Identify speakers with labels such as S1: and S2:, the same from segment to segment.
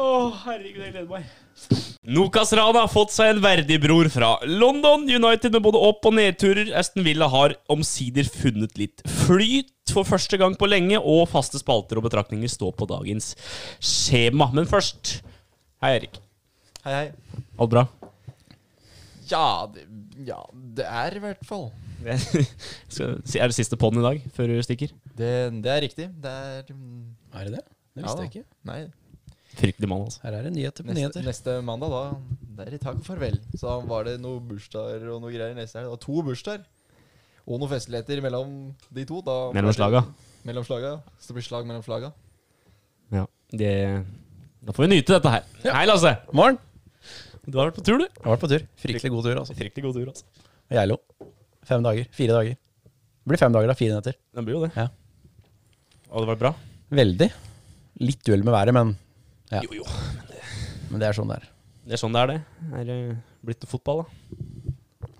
S1: herregud, jeg gleder meg.
S2: Nokas Rana har fått seg en verdig bror fra London. United med både opp- og nedturer. Aston Villa har omsider funnet litt flyt for første gang på lenge, og faste spalter og betraktninger står på dagens skjema. Men først Hei, Erik.
S3: Hei, hei.
S2: Alt bra?
S3: Ja, det, ja, det er i hvert fall.
S2: Skal- Er det siste podden i dag før du stikker?
S3: Det, det er riktig. Det er mm,
S4: Er det det? Det
S3: ja da.
S4: visste jeg ikke.
S3: Nei.
S2: Fryktelig mann, altså.
S4: Her er det nyheter på
S3: Neste,
S4: nyheter.
S3: neste mandag, da. Der i takk og farvel. Så da var det noen bursdager og noe greier neste helg. Det var to bursdager. Og noen festligheter mellom de to. Da
S2: Mellom slaga.
S3: Mellom slaga. Så det blir slag mellom slaga.
S2: Ja. Det Da får vi nyte dette her. Hei, Lasse.
S4: Morgen.
S2: Du har vært på tur, du.
S4: Jeg har vært på tur. Fryktelig god tur, altså.
S2: Fryktelig god tur, altså.
S4: Geilo. Fem dager. Fire dager. Det blir fem dager, da. Fire netter.
S2: Den blir jo det.
S4: Ja.
S2: Og det har vært bra?
S4: Veldig. Litt duell med været, men, Ja.
S2: Jo, jo.
S4: men det er sånn det er.
S2: Det er sånn det er, det. Er det blitt noe fotball, da?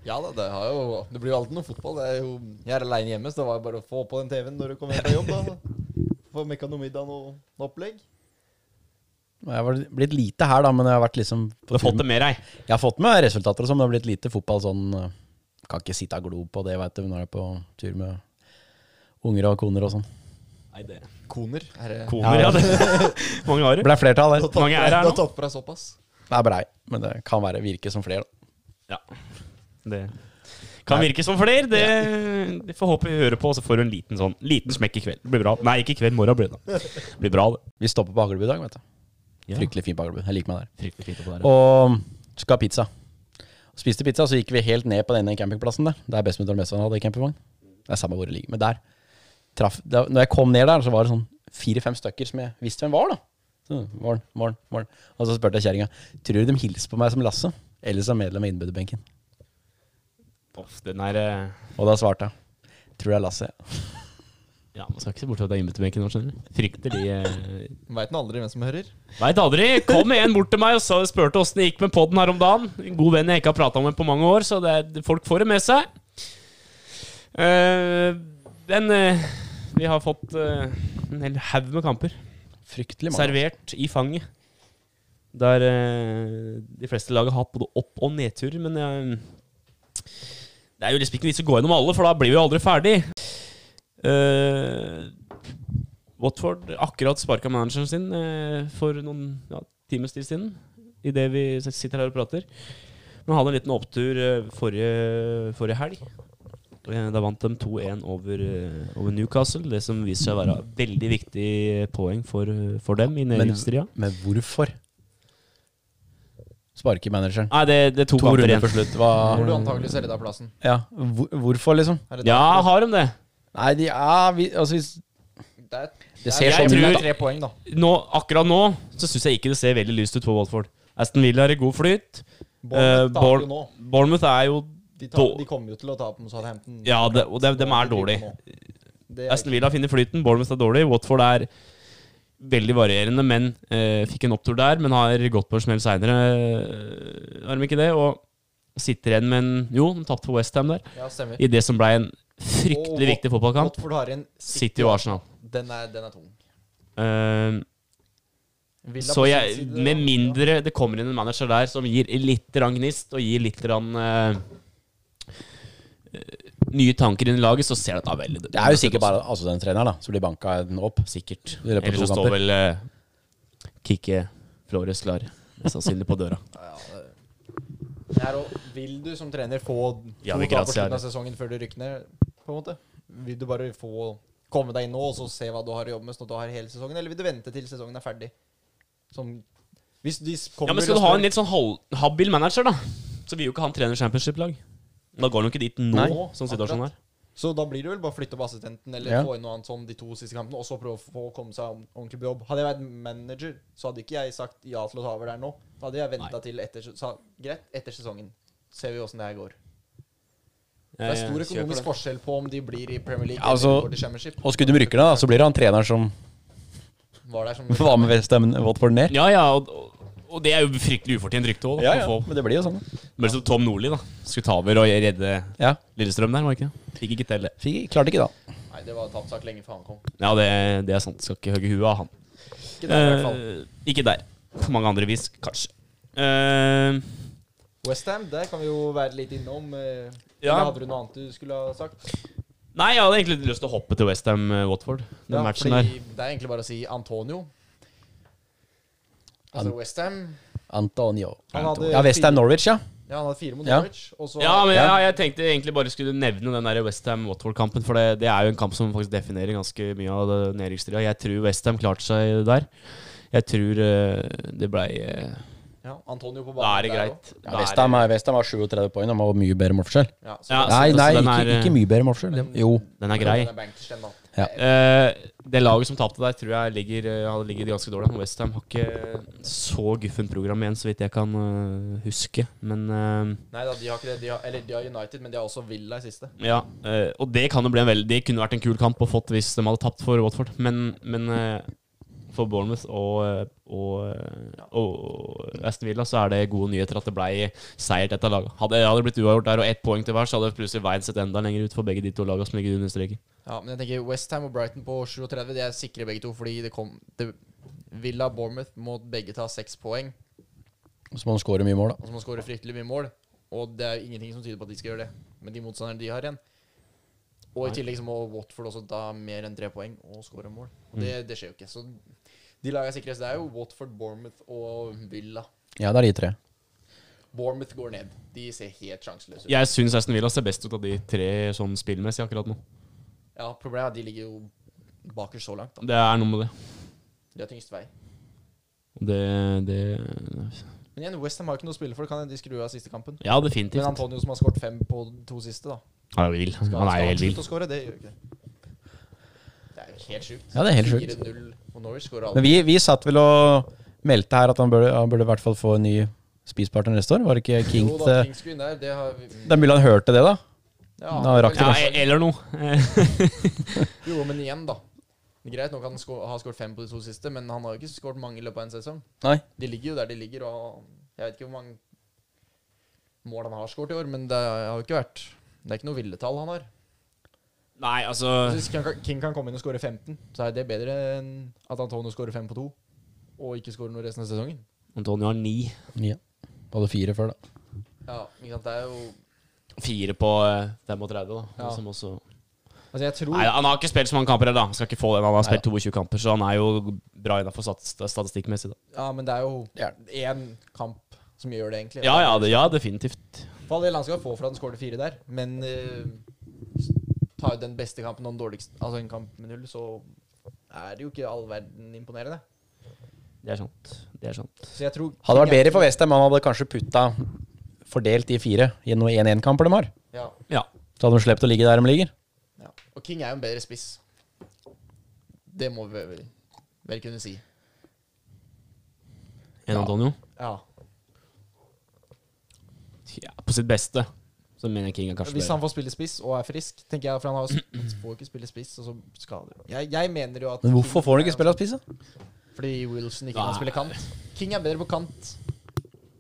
S3: Ja da, det, har jo, det blir jo alltid noe fotball. Det er jo, jeg er aleine hjemme, så det var jo bare å få på den TV-en når du kommer hjem fra jobb. da Få mekka noe middag og noe opplegg.
S4: Jeg har vært- blitt lite her, da, men jeg har vært liksom
S2: Du har fått det med deg?
S4: Jeg har fått med resultater og sånn, men det har blitt lite fotball sånn eh, Kan ikke sitte og glo på det, veit du, når jeg er på tur med unger og koner og sånn.
S2: Nei, det
S3: Koner. Er det
S2: Koner, ja. det. Mange har
S4: Det
S2: det.
S4: ble flertall der.
S2: Hvor mange er det her
S3: Du
S2: nå?
S3: har tatt på deg såpass.
S4: Det er brei, men det kan være virke som flere, da.
S2: Ja. Det kan virke som flere. Det, det får håpe vi hører på, og så får du en liten sånn Liten smekk i kveld. Det blir bra. Nei, ikke i kveld. Morgen blir det. da. Det blir bra, det.
S4: Vi stopper på Hagelbu i dag, vet du.
S2: Ja.
S4: Fryktelig fin på Hagelbu. Jeg liker meg der.
S2: Fryktelig fint oppå der.
S4: Og skal ha pizza. Spiste pizza, så gikk vi helt ned på den ene campingplassen der. Der bestemutter og bestefar hadde campingvogn. Det er samme hvor det ligger. Men der traff da, Når jeg kom ned der, så var det sånn fire-fem stykker som jeg visste hvem var, da. Så, morgen, morgen, morgen. Og så spurte jeg kjerringa Tror du de hilser på meg som Lasse eller som medlem av innbyderbenken.
S2: Off, den er eh,
S4: Og da svarte jeg Tror det er Lasse.
S2: Ja, man skal ikke se bort fra at det er innbytterbenken nå, skjønner du. Frykter de eh,
S3: Veit nå aldri hvem som hører.
S2: Veit aldri. Kom en bort til meg og sa- spurte åssen det gikk med podden her om dagen. En god venn jeg ikke har prata med på mange år, så det er, folk får det med seg. Eh, men eh, vi har fått eh, en hel haug med kamper
S4: Fryktelig mange.
S2: servert i fanget. Der eh, de fleste lag har hatt både opp- og nedturer, men eh, det er jo liksom ikke noe vits å gå gjennom alle, for da blir vi jo aldri ferdig. Eh, Watford akkurat sparka manageren sin eh, for noen ja, times tid siden, idet vi sitter her og prater. Men hadde en liten opptur eh, forrige, forrige helg. Eh, Da vant de 2-1 over, eh, over Newcastle, det som viser seg å være veldig viktig eh, poeng for, for dem i
S4: Men,
S2: nedrykksstria.
S4: men hvorfor? Sparker manageren.
S2: Nei, det, det er to,
S4: To
S2: kamper
S4: runder
S2: igjen.
S4: på slutt. Hva
S3: Hvor du antakeligvis selger deg plassen.
S4: Ja, hvor, hvorfor, liksom?
S3: Er det
S2: Eh, Ja, har de det?
S4: Nei, de er vi, Altså, hvis
S3: Det er,
S4: Det ser
S2: sånn
S3: ut.
S2: ut, da.
S3: Tre poeng, da.
S2: nå, akkurat nå så syns jeg ikke det ser veldig lyst ut for Watford. Aston Villa er i god flyt. Eh,
S3: Bournemouth taper
S2: Bourne-
S3: jo nå.
S2: Bournemouth er jo
S3: De, tar-
S2: Dår-
S3: de kommer jo til å tape mot Southampton.
S2: Ja, det, og de, dem er dårlige.
S3: dårlige Det er
S2: Aston Villa finner flyten, Bournemouth er dårlig. Watford er veldig varierende, men eh, fikk en opptur der, men har gått på en smell seinere. eh, Har de ikke det? Og sitter igjen med en Jo, de tapte for Westham der.
S3: Ja, stemmer.
S2: I det som ble en
S3: Og
S2: fryktelig
S3: Wat-
S2: viktig fotballkamp.
S3: Watford har en
S2: City og Arsenal.
S3: Den er, den er tung.
S2: Eh,
S3: Villa
S2: Så
S3: på
S2: jeg,
S3: sin side,
S2: med
S3: da.
S2: mindre det kommer inn en manager der som gir litt rann gnist og gir litt rann, eh, eh, nye tanker inn i laget, så ser dette veldig
S4: Det er jo sikkert bare altså den treneren da som blir banka den opp. Sikkert. I løpet av
S2: Ellers
S4: to
S2: så står
S4: kamper.
S2: vel eh, Kikki Flores klar, mest sannsynlig på døra.
S3: Ja, ja, det- det er å- vil du som trener få to
S2: Ja,
S3: tap
S2: det
S3: på
S2: gratis er
S3: slutten av sesongen før du rykker ned, på en måte? Vil du bare få komme deg inn nå og så se hva du har å jobbe med sånn at du har hele sesongen, eller vil du vente til sesongen er ferdig? Som Hvis de s- kommer
S2: Ja, men Skal
S3: og
S2: du ha
S3: spør-
S2: en litt sånn hal- habil manager, da, så vil jo ikke han trene championship-lag. Da går han jo ikke dit nå,
S4: Nei,
S2: sånn situasjonen
S3: akkurat.
S2: er.
S3: Så da blir det vel bare å flytte opp assistenten eller
S4: Ja.
S3: få inn noe annet sånn de to siste kampene, og så prøve å få komme seg om- ordentlig på jobb. Hadde jeg vært manager, så hadde ikke jeg sagt ja til å ta over der nå. Da hadde jeg venta til etter, sa, greit, etter sesongen. Ser vi åssen det her går. Det er stor
S2: Jeg kjøper Eh, det.
S3: økonomisk forskjell på om de blir i Premier League
S4: Ja, altså,
S3: eller går til Championship.
S4: Og skulle de rykke ned, da, så blir det han treneren som
S3: Var der som
S4: var med Westham Watford ned.
S2: Ja, ja, og, og- og det er jo fryktelig ufortjent rykte òg. Ja, ja.
S4: Men det blir jo sånn. da.
S2: Men som Tom Nordli, da. Skulle ta over og redde
S4: Ja.
S2: Lillestrøm der, var det ikke? det? Fikk ikke til det.
S4: Fikk, klarte ikke, da.
S3: Nei, det var tapt sak lenge før han kom.
S2: Ja, det, det er sant. Skal ikke hogge huet av han.
S3: Ikke der, i hvert fall.
S2: Eh, ikke der. På mange andre vis, kanskje. Eh,
S3: Westham, der kan vi jo være litt innom. eh,
S2: Ja.
S3: eller Hadde du noe annet du skulle ha sagt?
S2: nei, jeg hadde egentlig lyst til å hoppe til Westham-Watford. Den
S3: Ja,
S2: matchen der.
S3: fordi Det er egentlig bare å si Antonio. Altså Westham.
S4: Antonio.
S3: Han hadde
S4: Ja, Westham Norwich, ja.
S3: Ja, han hadde fire mot
S4: Ja.
S3: Norwich. Og så
S2: Ja, men
S4: Ja.
S2: ja, jeg tenkte egentlig bare skulle nevne den der Westham-Watford-kampen. For det, det er jo en kamp som faktisk definerer ganske mye av det nedrykksstrida. Jeg tror Westham klarte seg der. Jeg tror eh, det blei eh,
S3: Ja, Antonio på banen.
S2: Da er det
S3: der også.
S2: greit. Da
S4: ja
S2: er
S4: Westham er, Westham har 37 poeng og har mye bedre målforskjell.
S3: Ja, så
S2: Ja,
S3: da-
S4: Nei,
S2: så
S4: nei,
S2: den
S4: ikke,
S2: er, eh,
S4: ikke mye bedre målforskjell. Det- Jo.
S2: Den er grei.
S3: Den er bankers, den, da.
S2: Eh, det laget som tapte der, tror jeg ligger, eh, hadde ligget ganske dårlig. Westham har ikke så guffent program igjen, så vidt jeg kan eh, huske. Men eh,
S3: Nei da, de har ikke det. De har, eller de har United, men de har også Villa i siste.
S2: Ja, eh, og det kan jo bli en veldig Det kunne vært en kul kamp å fått hvis de hadde tapt for Watford, men, men eh, for Bournemouth og, eh, og, eh, og Aston Villa så er det gode nyheter at det ble seier til dette laget. Hadde hadde det blitt uavgjort der og ett poeng til hver, så hadde plutselig veien sett enda lenger ut for begge de to lagene som ligger under streken.
S3: Ja, men jeg tenker Westham og Brighton på 37, de er sikre begge to, fordi det kom det, Villa og Bournemouth må begge ta seks poeng,
S4: Så må han score mye mål, da.
S3: og så må de skåre fryktelig mye mål. Og det er ingenting som tyder på at de skal gjøre det, med de motstanderne de har igjen. Og i
S2: Nei.
S3: tillegg så må Watford også ta mer enn tre poeng og skåre mål. Og det, det skjer jo ikke. Så de lagene sikres. Det er jo Watford, Bournemouth og Villa.
S4: Ja, det er de tre.
S3: Bournemouth går ned. De ser helt sjanseløse ut.
S2: Jeg syns Aston Villa ser best ut av de tre sånn spillmessig akkurat nå.
S3: Ja, problemet er at de ligger jo bakerst så langt. Da.
S2: Det er noe med det.
S3: De har tyngst vei.
S2: Det, det
S3: Men igjen, Westham har jo ikke noe å spille for. Kan de skru av siste kampen?
S2: Ja, definitivt.
S3: Men Antonio som har skåret fem på to siste, da.
S2: Han er jo vill.
S3: Skal-
S2: Han er
S3: skal
S2: jo helt
S3: slutte
S2: vill.
S3: å skåre? det gjør jo ikke det. Det er jo helt sjukt.
S4: Ja, det er helt sjukt.
S3: 4-0, og Norwich skårer
S4: Men
S3: aldri.
S4: vi, vi satt vel og meldte her at han burde, han burde i hvert fall få en ny spisepartner neste år. Var det ikke King
S3: Jo da,
S4: til
S3: Kings Green der, det har vi
S4: Det er mulig han hørte det, da.
S3: ja,
S4: da rakk det
S2: Ja,
S3: vel,
S2: e- eller noe.
S3: Jo, men igjen, da. Det er Greit nok han skå, har skåret fem på de to siste, men han har jo ikke skåret mange i løpet av en sesong.
S4: Nei.
S3: De ligger jo der de ligger, og jeg vet ikke hvor mange mål han har skåret i år, men det har jo ikke vært Det er ikke noe ville tall han har.
S2: Nei, altså
S3: Så Hvis King kan- King kan komme inn og skåre 15, så er det bedre enn at Antonio skårer fem på to, og ikke skårer noe resten av sesongen.
S2: Antonio har ni.
S4: Ja. Hadde fire før, da.
S3: Ja, ikke sant, det er jo
S2: Fire på eh, 35, da.
S3: Ja.
S2: Som også...
S3: Altså, jeg tror
S2: Nei, han har ikke spilt så mange kamper heller, da. Han skal ikke få den. Han har
S4: Nei,
S2: spilt 22 kamper, så han er jo bra innafor statistikkmessig, da.
S3: Ja, men det er jo én kamp som gjør det, egentlig.
S2: Ja, ja, det, ja definitivt.
S3: For all del, han skal få for at han skåret fire der, men eh, ta ut den beste kampen og den dårligste, altså en kamp med null, så er det jo ikke all verden imponerende.
S2: Det er sant. Det er sant.
S3: Så jeg tror
S4: Hadde vært bedre for Westham. Han hadde kanskje putta fordelt de fire i noen 1-1-kamper de har.
S3: Ja,
S2: Ja.
S4: Så hadde de sluppet å ligge der de ligger.
S3: ja. Og King er jo en bedre spiss. Det må vi vel, vel kunne si.
S2: En Antonio.
S3: Ja.
S2: Ja, på sitt beste. Så mener jeg King er kanskje
S3: Hvis
S2: bedre.
S3: han får spille spiss og er frisk, tenker jeg, for han har jo sp- han får jo ikke spille spiss, og så skader han. Jeg, jeg mener jo at
S4: Men hvorfor
S3: King
S4: får han
S3: er-
S4: ikke spille av spisse?
S3: Fordi Wilson ikke
S2: Nei.
S3: kan spille kant. King er bedre på kant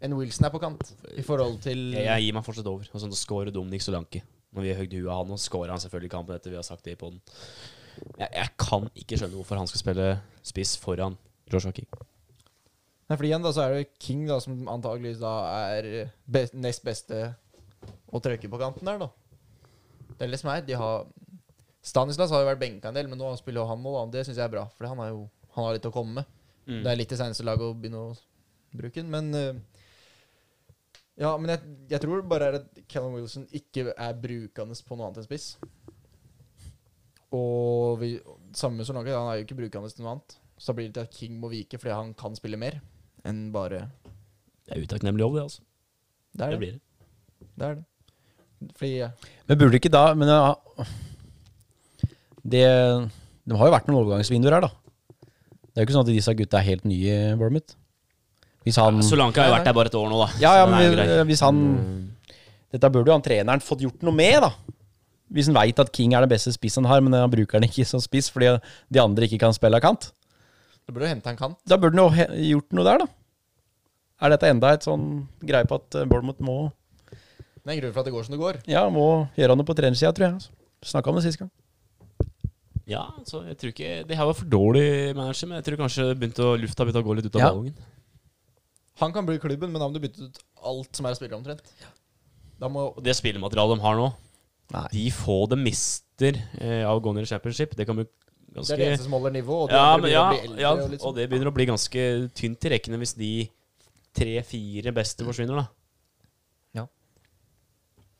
S3: enn Wilson er på kant. I forhold til
S2: Jeg, jeg gir meg fortsatt over. Og sånn, så scorer Dominic Solanke. Når vi har høgd huet av han, og scorer han selvfølgelig kampen etter vi har sagt det på den. Jeg, jeg kan ikke skjønne hvorfor han skal spille spiss foran Joshua King.
S3: Nei, fordi igjen da så er det King da som antageligvis da er be nest beste å trykke på kanten der, da. Det er det som er. De har Stanislas har jo vært benka en del, men nå spiller jo han nå, da. Det syns jeg er bra, for han, er jo, han har litt å komme med.
S2: Mm.
S3: Det er litt i seneste laget å begynne å bruke den, men eh, Ja, men jeg, jeg tror det bare er at Callum Wilson ikke er brukende på noe annet enn spiss. Og vi, samme med Solanke, han er jo ikke brukende til noe annet. Så da blir det til at King må vike fordi han kan spille mer enn bare
S2: Det er utakknemlig jobb, det, altså.
S3: Det
S2: Det
S3: er det.
S2: blir det.
S3: det, er det. Fordi ja,
S4: Men burde ikke da Men ja, det, det har jo vært noen overgangsvinduer her, da. Det er jo ikke sånn at disse gutta er helt nye i Bournemouth. Hvis han
S2: Solanke har jo vært der bare et år nå, da.
S4: Ja, ja,
S2: Så det er
S4: men
S2: greit.
S4: hvis han Dette burde jo han treneren fått gjort noe med, da. Hvis han veit at King er den beste spissen han har, men han bruker den ikke som spiss fordi de andre ikke kan spille av kant.
S3: du burde jo hente en kant.
S4: Da burde han jo he- gjort noe der, da. Er dette enda et sånn greie på at eh, Bournemouth må,
S3: Det er en grunn for at det går som det går.
S4: ja, må gjøre noe på trenersida, tror jeg. Altså. Snakka om det sist gang.
S2: Ja, så jeg tror ikke Det her var for dårlig manager, men jeg tror kanskje det begynte å lufta begynte å gå litt ut av
S4: Ja.
S2: ballongen.
S3: Han kan bli klubben, men da må du bytte ut alt som er å spille omtrent. Da må
S2: Og det spillematerialet de har nå,
S4: Nei.
S2: de få de mister eh, av Gonier Championship, det kan bli
S3: Det
S2: ganske
S3: er det eneste som holder nivå, og de
S2: ja, men,
S3: andre blir
S2: ja,
S3: å bli eldre.
S2: ja,
S3: og litt
S2: og
S3: sånn.
S2: det begynner å bli ganske tynt i rekkene hvis de tre-fire beste forsvinner, da.
S3: Ja.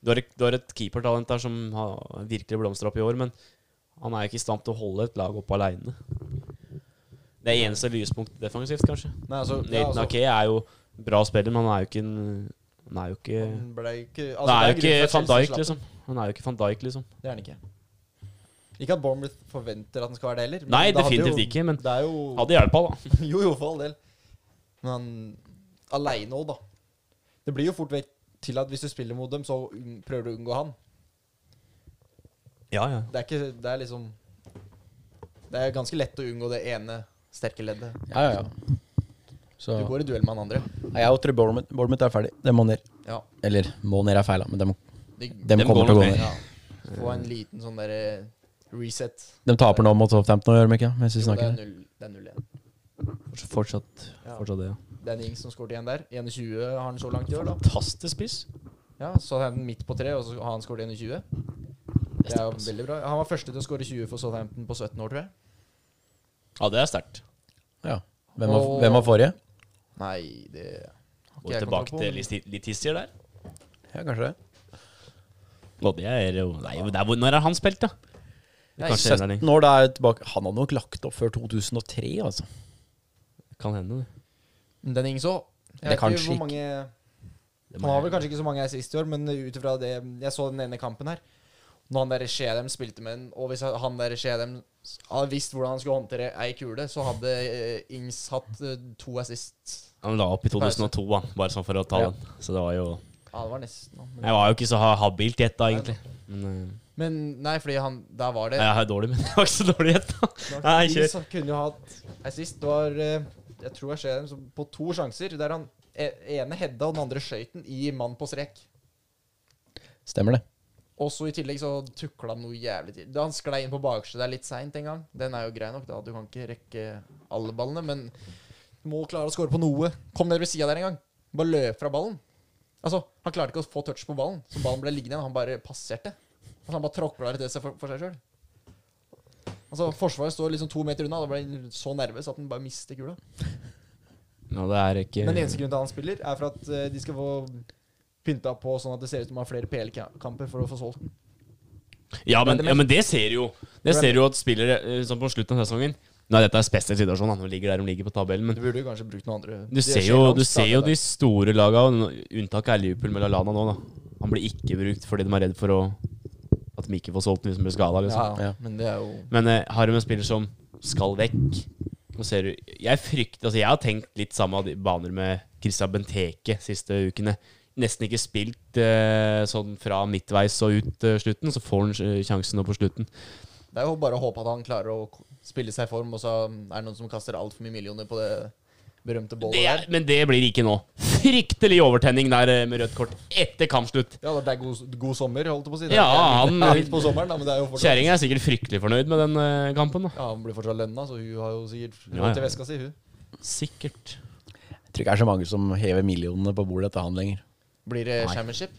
S2: Du har, et- du har et keepertalent der som har virkelig blomstra opp i år, men han er ikke i stand til å holde et lag oppe aleine. Det er eneste lyspunktet defensivt, kanskje.
S3: Nei, altså, ja,
S2: Nathan
S3: altså,
S2: Ake er jo bra spiller, men han er jo ikke en Han er jo ikke
S3: han ble ikke altså,
S2: Det er jo
S3: grunnen
S2: ikke
S3: til at
S2: van
S3: Chelsea
S2: Dijk,
S3: slapp.
S2: liksom. Han er jo ikke van Dijk, liksom.
S3: Det er han ikke. Ikke at Bournemouth forventer at han skal være det heller. men
S2: Nei,
S3: det hadde
S2: definitivt
S3: jo,
S2: ikke, men-
S3: Det er jo
S2: Hadde hjelpa, da.
S3: Jo, jo, for all del. Men han aleine òg, da. Det blir jo fort vekk til at hvis du spiller mot dem, så unn- prøver du å unngå han.
S2: Ja, ja.
S3: Det er ikke Det er liksom Det er ganske lett å unngå det ene sterke leddet.
S4: Ja, ja, ja. Så
S3: Du går i duell med han andre.
S4: Nei, jeg tror Bournemouth, Bournemouth er ferdig. Det må ned.
S3: Ja.
S4: Eller må ned er feil, da, men de,
S3: De,
S4: de
S2: Dem
S4: kommer
S2: går
S4: til å gå
S2: nok
S4: ned.
S3: ja. Få en liten sånn derre reset.
S4: De taper nå mot Southampton, gjør de ikke? Mens vi
S3: Jo, det
S4: snakker.
S3: er null- det er 0-1.
S2: Fortsatt,
S3: Ja.
S2: fortsatt det, ja.
S3: Det er en Ings som skåret igjen der. 21 har han så langt i år, da.
S2: Fantastisk spiss.
S3: Ja, så er han midt på tre, og så har han skåret 21. Det er jo veldig bra. Han var første til å skåre 20 for Southampton på 17 år, tror jeg.
S2: Ja, det er sterkt.
S4: Ja. Hvem var,
S3: Og-
S4: hvem var forrige?
S3: Nei, det har
S2: Gå
S3: ikke jeg kontroll
S2: tilbake
S3: på,
S2: til
S3: men-
S2: Lis- Litizier der.
S4: Ja, kanskje det.
S2: Og det er jo Nei, men det er, hvor- når har han spilt, da?
S3: Nei,
S2: Kanskje en lærling.
S4: 17 år, da er jeg tilbake. Han hadde nok lagt opp før 2003, altså.
S2: Kan hende, det.
S3: Men Den Ings òg.
S4: Det
S3: Jeg vet ikke
S4: kanskje
S3: hvor
S4: ikke.
S3: mange
S2: Det
S3: Han
S2: må
S3: har vel
S2: jeg-
S3: kanskje ikke så mange her sist i år, men ut ifra det Jeg så den ene kampen her. Når han der Shedem spilte med en, og hvis han der Shedem hadde visst hvordan han skulle håndtere ei kule, så hadde eh, Ings hatt eh, to assist.
S2: Han la opp i 2002, da, bare sånn for å ta
S4: Ja.
S2: den. Så det var jo
S3: Ja, det var nesten men-
S2: Jeg var jo ikke så ha- habilt gjett da, egentlig. Men
S3: Men nei, fordi han Der var
S2: eh,
S3: det
S2: jeg er dårlig, men det var ikke så dårlig gjett, da. Nei, kjør.
S3: Ings kunne jo hatt assist. Det var eh, Jeg tror jeg ser dem som- på to sjanser, der han e- ene hedda og den andre skøyten i mann på strek.
S4: Stemmer det.
S3: Og så i tillegg så tukla han noe jævlig til. Da Han sklei inn på bakerste der litt seint en gang. Den er jo grei nok, da. Du kan ikke rekke alle ballene, men du må klare å score på noe. Kom ned ved sida der en gang. Bare løp fra ballen. Altså, han klarte ikke å få touch på ballen, så ballen ble liggende igjen. Han bare passerte. Altså, han bare tråkla det til seg for, for seg sjøl. Altså, Forsvaret står liksom to meter unna. Da ble han så nervøs at han bare mister kula.
S2: Ja, det er ikke
S3: Men eneste grunnen til at han spiller, er for at eh, de skal få pynta på sånn at det ser ut som han har flere PL-kamper for å få solgt den.
S2: Ja, men,
S3: Men det
S2: ja, men det ser du jo. Det
S3: Men-
S2: ser du jo at spillere eh, sånn på slutten av sesongen Nei, dette er spesiell situasjon. da. Nå ligger der de ligger på tabellen, men
S3: Du burde jo kanskje brukt noen andre.
S2: du ser jo, du ser jo de store laga. og nå- Unntaket er Liverpool med Lallana nå, da. Han blir ikke brukt fordi de er redd for å at de ikke får solgt den hvis de blir skada. Liksom.
S3: ja, ja, men det er jo
S2: Men eh, har de en spiller som skal vekk Nå ser du Jeg frykter Altså, jeg har tenkt litt samme de- baner med Christian Benteke siste ukene. Nesten ikke spilt eh, sånn fra midtveis og ut eh, slutten, så får han eh, sjansen nå på slutten.
S3: Det er jo bare å håpe at han klarer å k- spille seg i form, og så mm, er det noen som kaster altfor mye millioner på det berømte bålet
S2: Det er,
S3: der.
S2: men det blir ikke nå. Fryktelig overtenning der eh, med rødt kort etter kampslutt.
S3: Ja, det er god, god sommer, holdt jeg på å si. Det er
S2: Ja,
S3: litt-
S2: han-
S3: litt på sommeren, da, men det er jo fortsatt
S2: Kjerringa er sikkert fryktelig fornøyd med den eh, kampen. da
S3: Ja, han blir fortsatt lønna, så hun har jo sikkert
S2: Ja, ja.
S3: råd til veska si, hun.
S2: Sikkert.
S4: Jeg tror ikke det er så mange som hever millionene på bordet til han lenger.
S3: Blir det
S4: Nei.
S3: championship?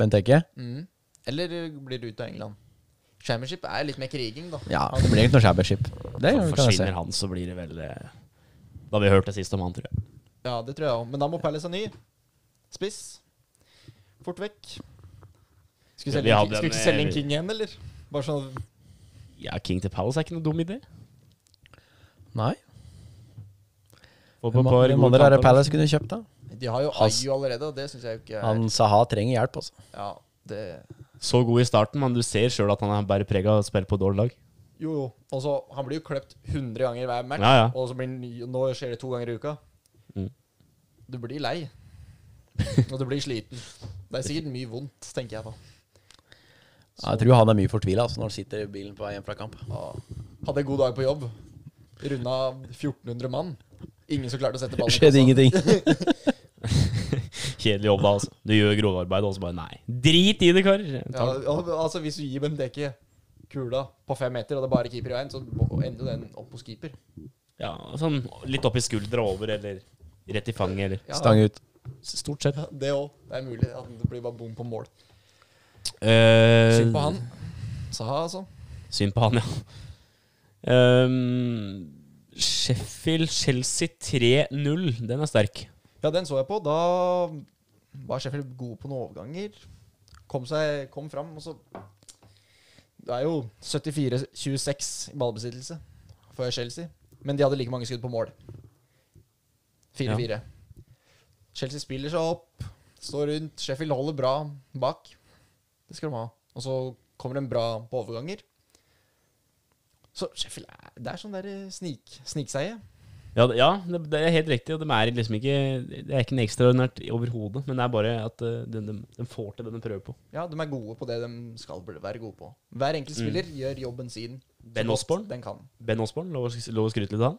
S4: Bent Eke?
S3: Mm. Eller blir det ut av England? Championship er litt mer kriging, da.
S4: Ja, det blir ikke noe shabbership. Det kan jeg se.
S2: Forsvinner han, så blir det vel eh, Da har vi hørt det sist om han, tror jeg.
S3: Ja, det tror jeg òg. Men da må Palace ha ny. Spiss. Fort vekk.
S2: Ja,
S3: Skulle selge,
S2: vi
S3: en,
S2: hadde
S3: King-
S2: en,
S3: skulle ikke selge
S2: eh,
S3: en King igjen, eller? Bare sånn
S2: Ja, King til Palace er ikke noe dum idé.
S4: Nei.
S2: Få på
S4: Hvem
S2: et par gode
S4: hvem andre er det
S2: kamper. altså.
S4: Palace kunne kjøpt, da?
S3: De har jo
S4: Has-
S3: Ayu allerede, og det syns jeg jo ikke er
S4: Han Saha trenger hjelp, altså.
S3: Ja, det
S2: Så god i starten, men du ser sjøl at han er bare prega av å spille på dårlig lag.
S3: Jo, jo. Og så Han blir jo kløpt 100 ganger hver match,
S2: Ja, ja.
S3: og så blir han ny- nå skjer det to ganger i uka.
S2: Mm.
S3: Du blir lei. Og du blir sliten. Det er sikkert mye vondt, tenker jeg da.
S4: Ja, Jeg tror han er mye fortvila altså, når han sitter i bilen på vei hjem fra kamp.
S3: Ja. Hadde en god dag på jobb. Runda 1400 mann. Ingen som klarte å sette ballen i
S4: Skjedde
S3: kassa.
S4: ingenting.
S2: Kjedelig jobb, da, altså. Du gjør grovarbeid, og så bare nei. Drit i det, karer.
S3: Ja,
S2: Ta-
S3: al- altså Hvis du gir dem dekke kula på fem meter, og det er bare keeper i veien, så må- ender jo den opp hos keeper.
S2: Ja, sånn litt opp i skuldra over, eller rett i fanget, eller
S3: Ja,
S4: Stang ut.
S2: Stort sett.
S3: Det òg. Det er mulig at det blir bare bom på mål.
S2: Eh,
S3: Synd på han. Saha, altså.
S2: Synd på han, ja. Ehm, Sheffield Chelsea 3-0. Den er sterk.
S3: Ja, den så jeg på. Da var Sheffield gode på noen overganger. Kom seg kom fram, og så Det er jo 74-26 i ballbesittelse for Chelsea. Men de hadde like mange skudd på mål. 4-4. Chelsea spiller seg opp, står rundt. Sheffield holder bra bak. Det skal de ha. Og så kommer de bra på overganger. Så Sheffield er, Det er sånn der eh, snik, snikseie.
S2: Ja, det, ja, det det er helt riktig. Og de er liksom ikke, det er ikke noe ekstraordinært overhodet, men det er bare at eh, de, de, de får til det de prøver på.
S3: Ja, de er gode på det de skal bli- være gode på. Hver enkelt spiller gjør jobben sin. så
S2: Mm. Ben
S3: godt
S2: Osborne?
S3: Den kan.
S2: Ben Osborne, lov, å- lov å skryte litt av han?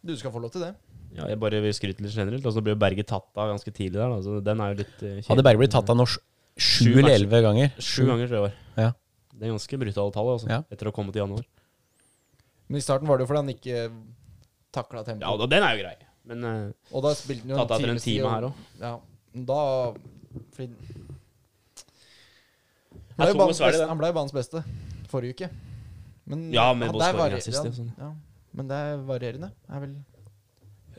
S3: Du skal få lov til det.
S2: Ja, jeg bare vil skryte litt generelt. Altså, ble jo Berge tatt av ganske tidlig der, da, så den er jo litt eh, kjedelig.
S4: Hadde Berge blitt tatt av norsk sju
S2: Sju
S4: eller
S2: matcher.
S4: elleve ganger.
S2: Sju ganger, tror jeg det var.
S4: Ja.
S2: Det er ganske brutale tall, altså,
S4: Ja.
S2: etter å ha kommet i januar.
S3: Men i starten var det jo fordi han ikke takla tempoet.
S2: Ja, og den er jo grei, men eh,
S3: og da spilte han jo
S2: tatt av etter en
S3: timestid,
S2: time
S3: og-
S2: her òg.
S3: Ja, da fordi, han,
S2: Jeg
S3: ble jo
S2: tok
S3: banens
S2: Osvald i
S3: beste,
S2: den.
S3: han ble jo banens beste forrige uke. Men
S2: Ja, med
S3: han-
S2: både
S3: der
S2: skåring og
S3: varier-
S2: assist,
S3: ja,
S2: det er sånn.
S3: ja, men det er varierende. Er vel.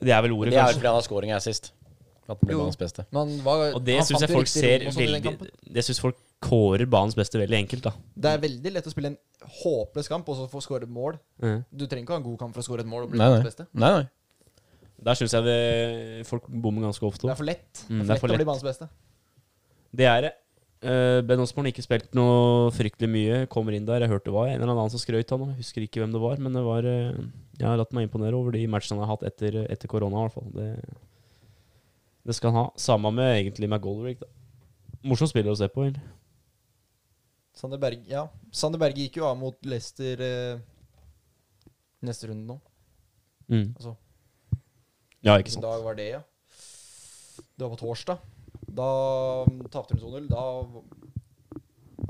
S2: Det er vel ordet,
S4: Det er jo
S2: kanskje.
S4: fordi han har scoring her sist. At han ble
S3: Jo.
S4: banens beste.
S3: Men han var,
S2: Og det
S3: han
S2: syns
S3: fant
S2: jeg
S3: de
S2: folk
S3: riktige
S2: ser
S3: rommene og sånn i den
S2: veldig
S3: kampen.
S2: Det syns folk kårer banens beste veldig enkelt, da.
S3: Det er veldig lett å spille en håpløs kamp og så få skåre mål.
S2: Mhm.
S3: Du trenger ikke ha en god kamp for å skåre et mål og bli
S4: Nei,
S3: banens
S4: nei.
S3: beste.
S4: Nei, nei.
S2: Der syns jeg det, folk bommer ganske ofte. også.
S3: Det er for lett.
S2: Mm,
S3: det er for lett å bli banens beste.
S2: Det er det. Eh, ben Osborne ikke spilt noe fryktelig mye. Kommer inn der. Jeg hørte det var en eller annen som skrøt av ham. Husker ikke hvem det var, men det var eh, Jeg har latt meg imponere over de matchene han har hatt etter, etter korona, i hvert fall. Det, det skal han ha. Samme med egentlig McGolrick, da. Morsom spiller å se på, egentlig.
S3: Sander Berge, ja. Sander Berge gikk jo av mot Leicester eh, neste runde nå.
S2: Mm.
S3: Altså,
S2: Ja, ikke
S3: hvilken
S2: sant.
S3: dag var det, ja? Det var på torsdag. Da mm, tapte de 2-0. Da v-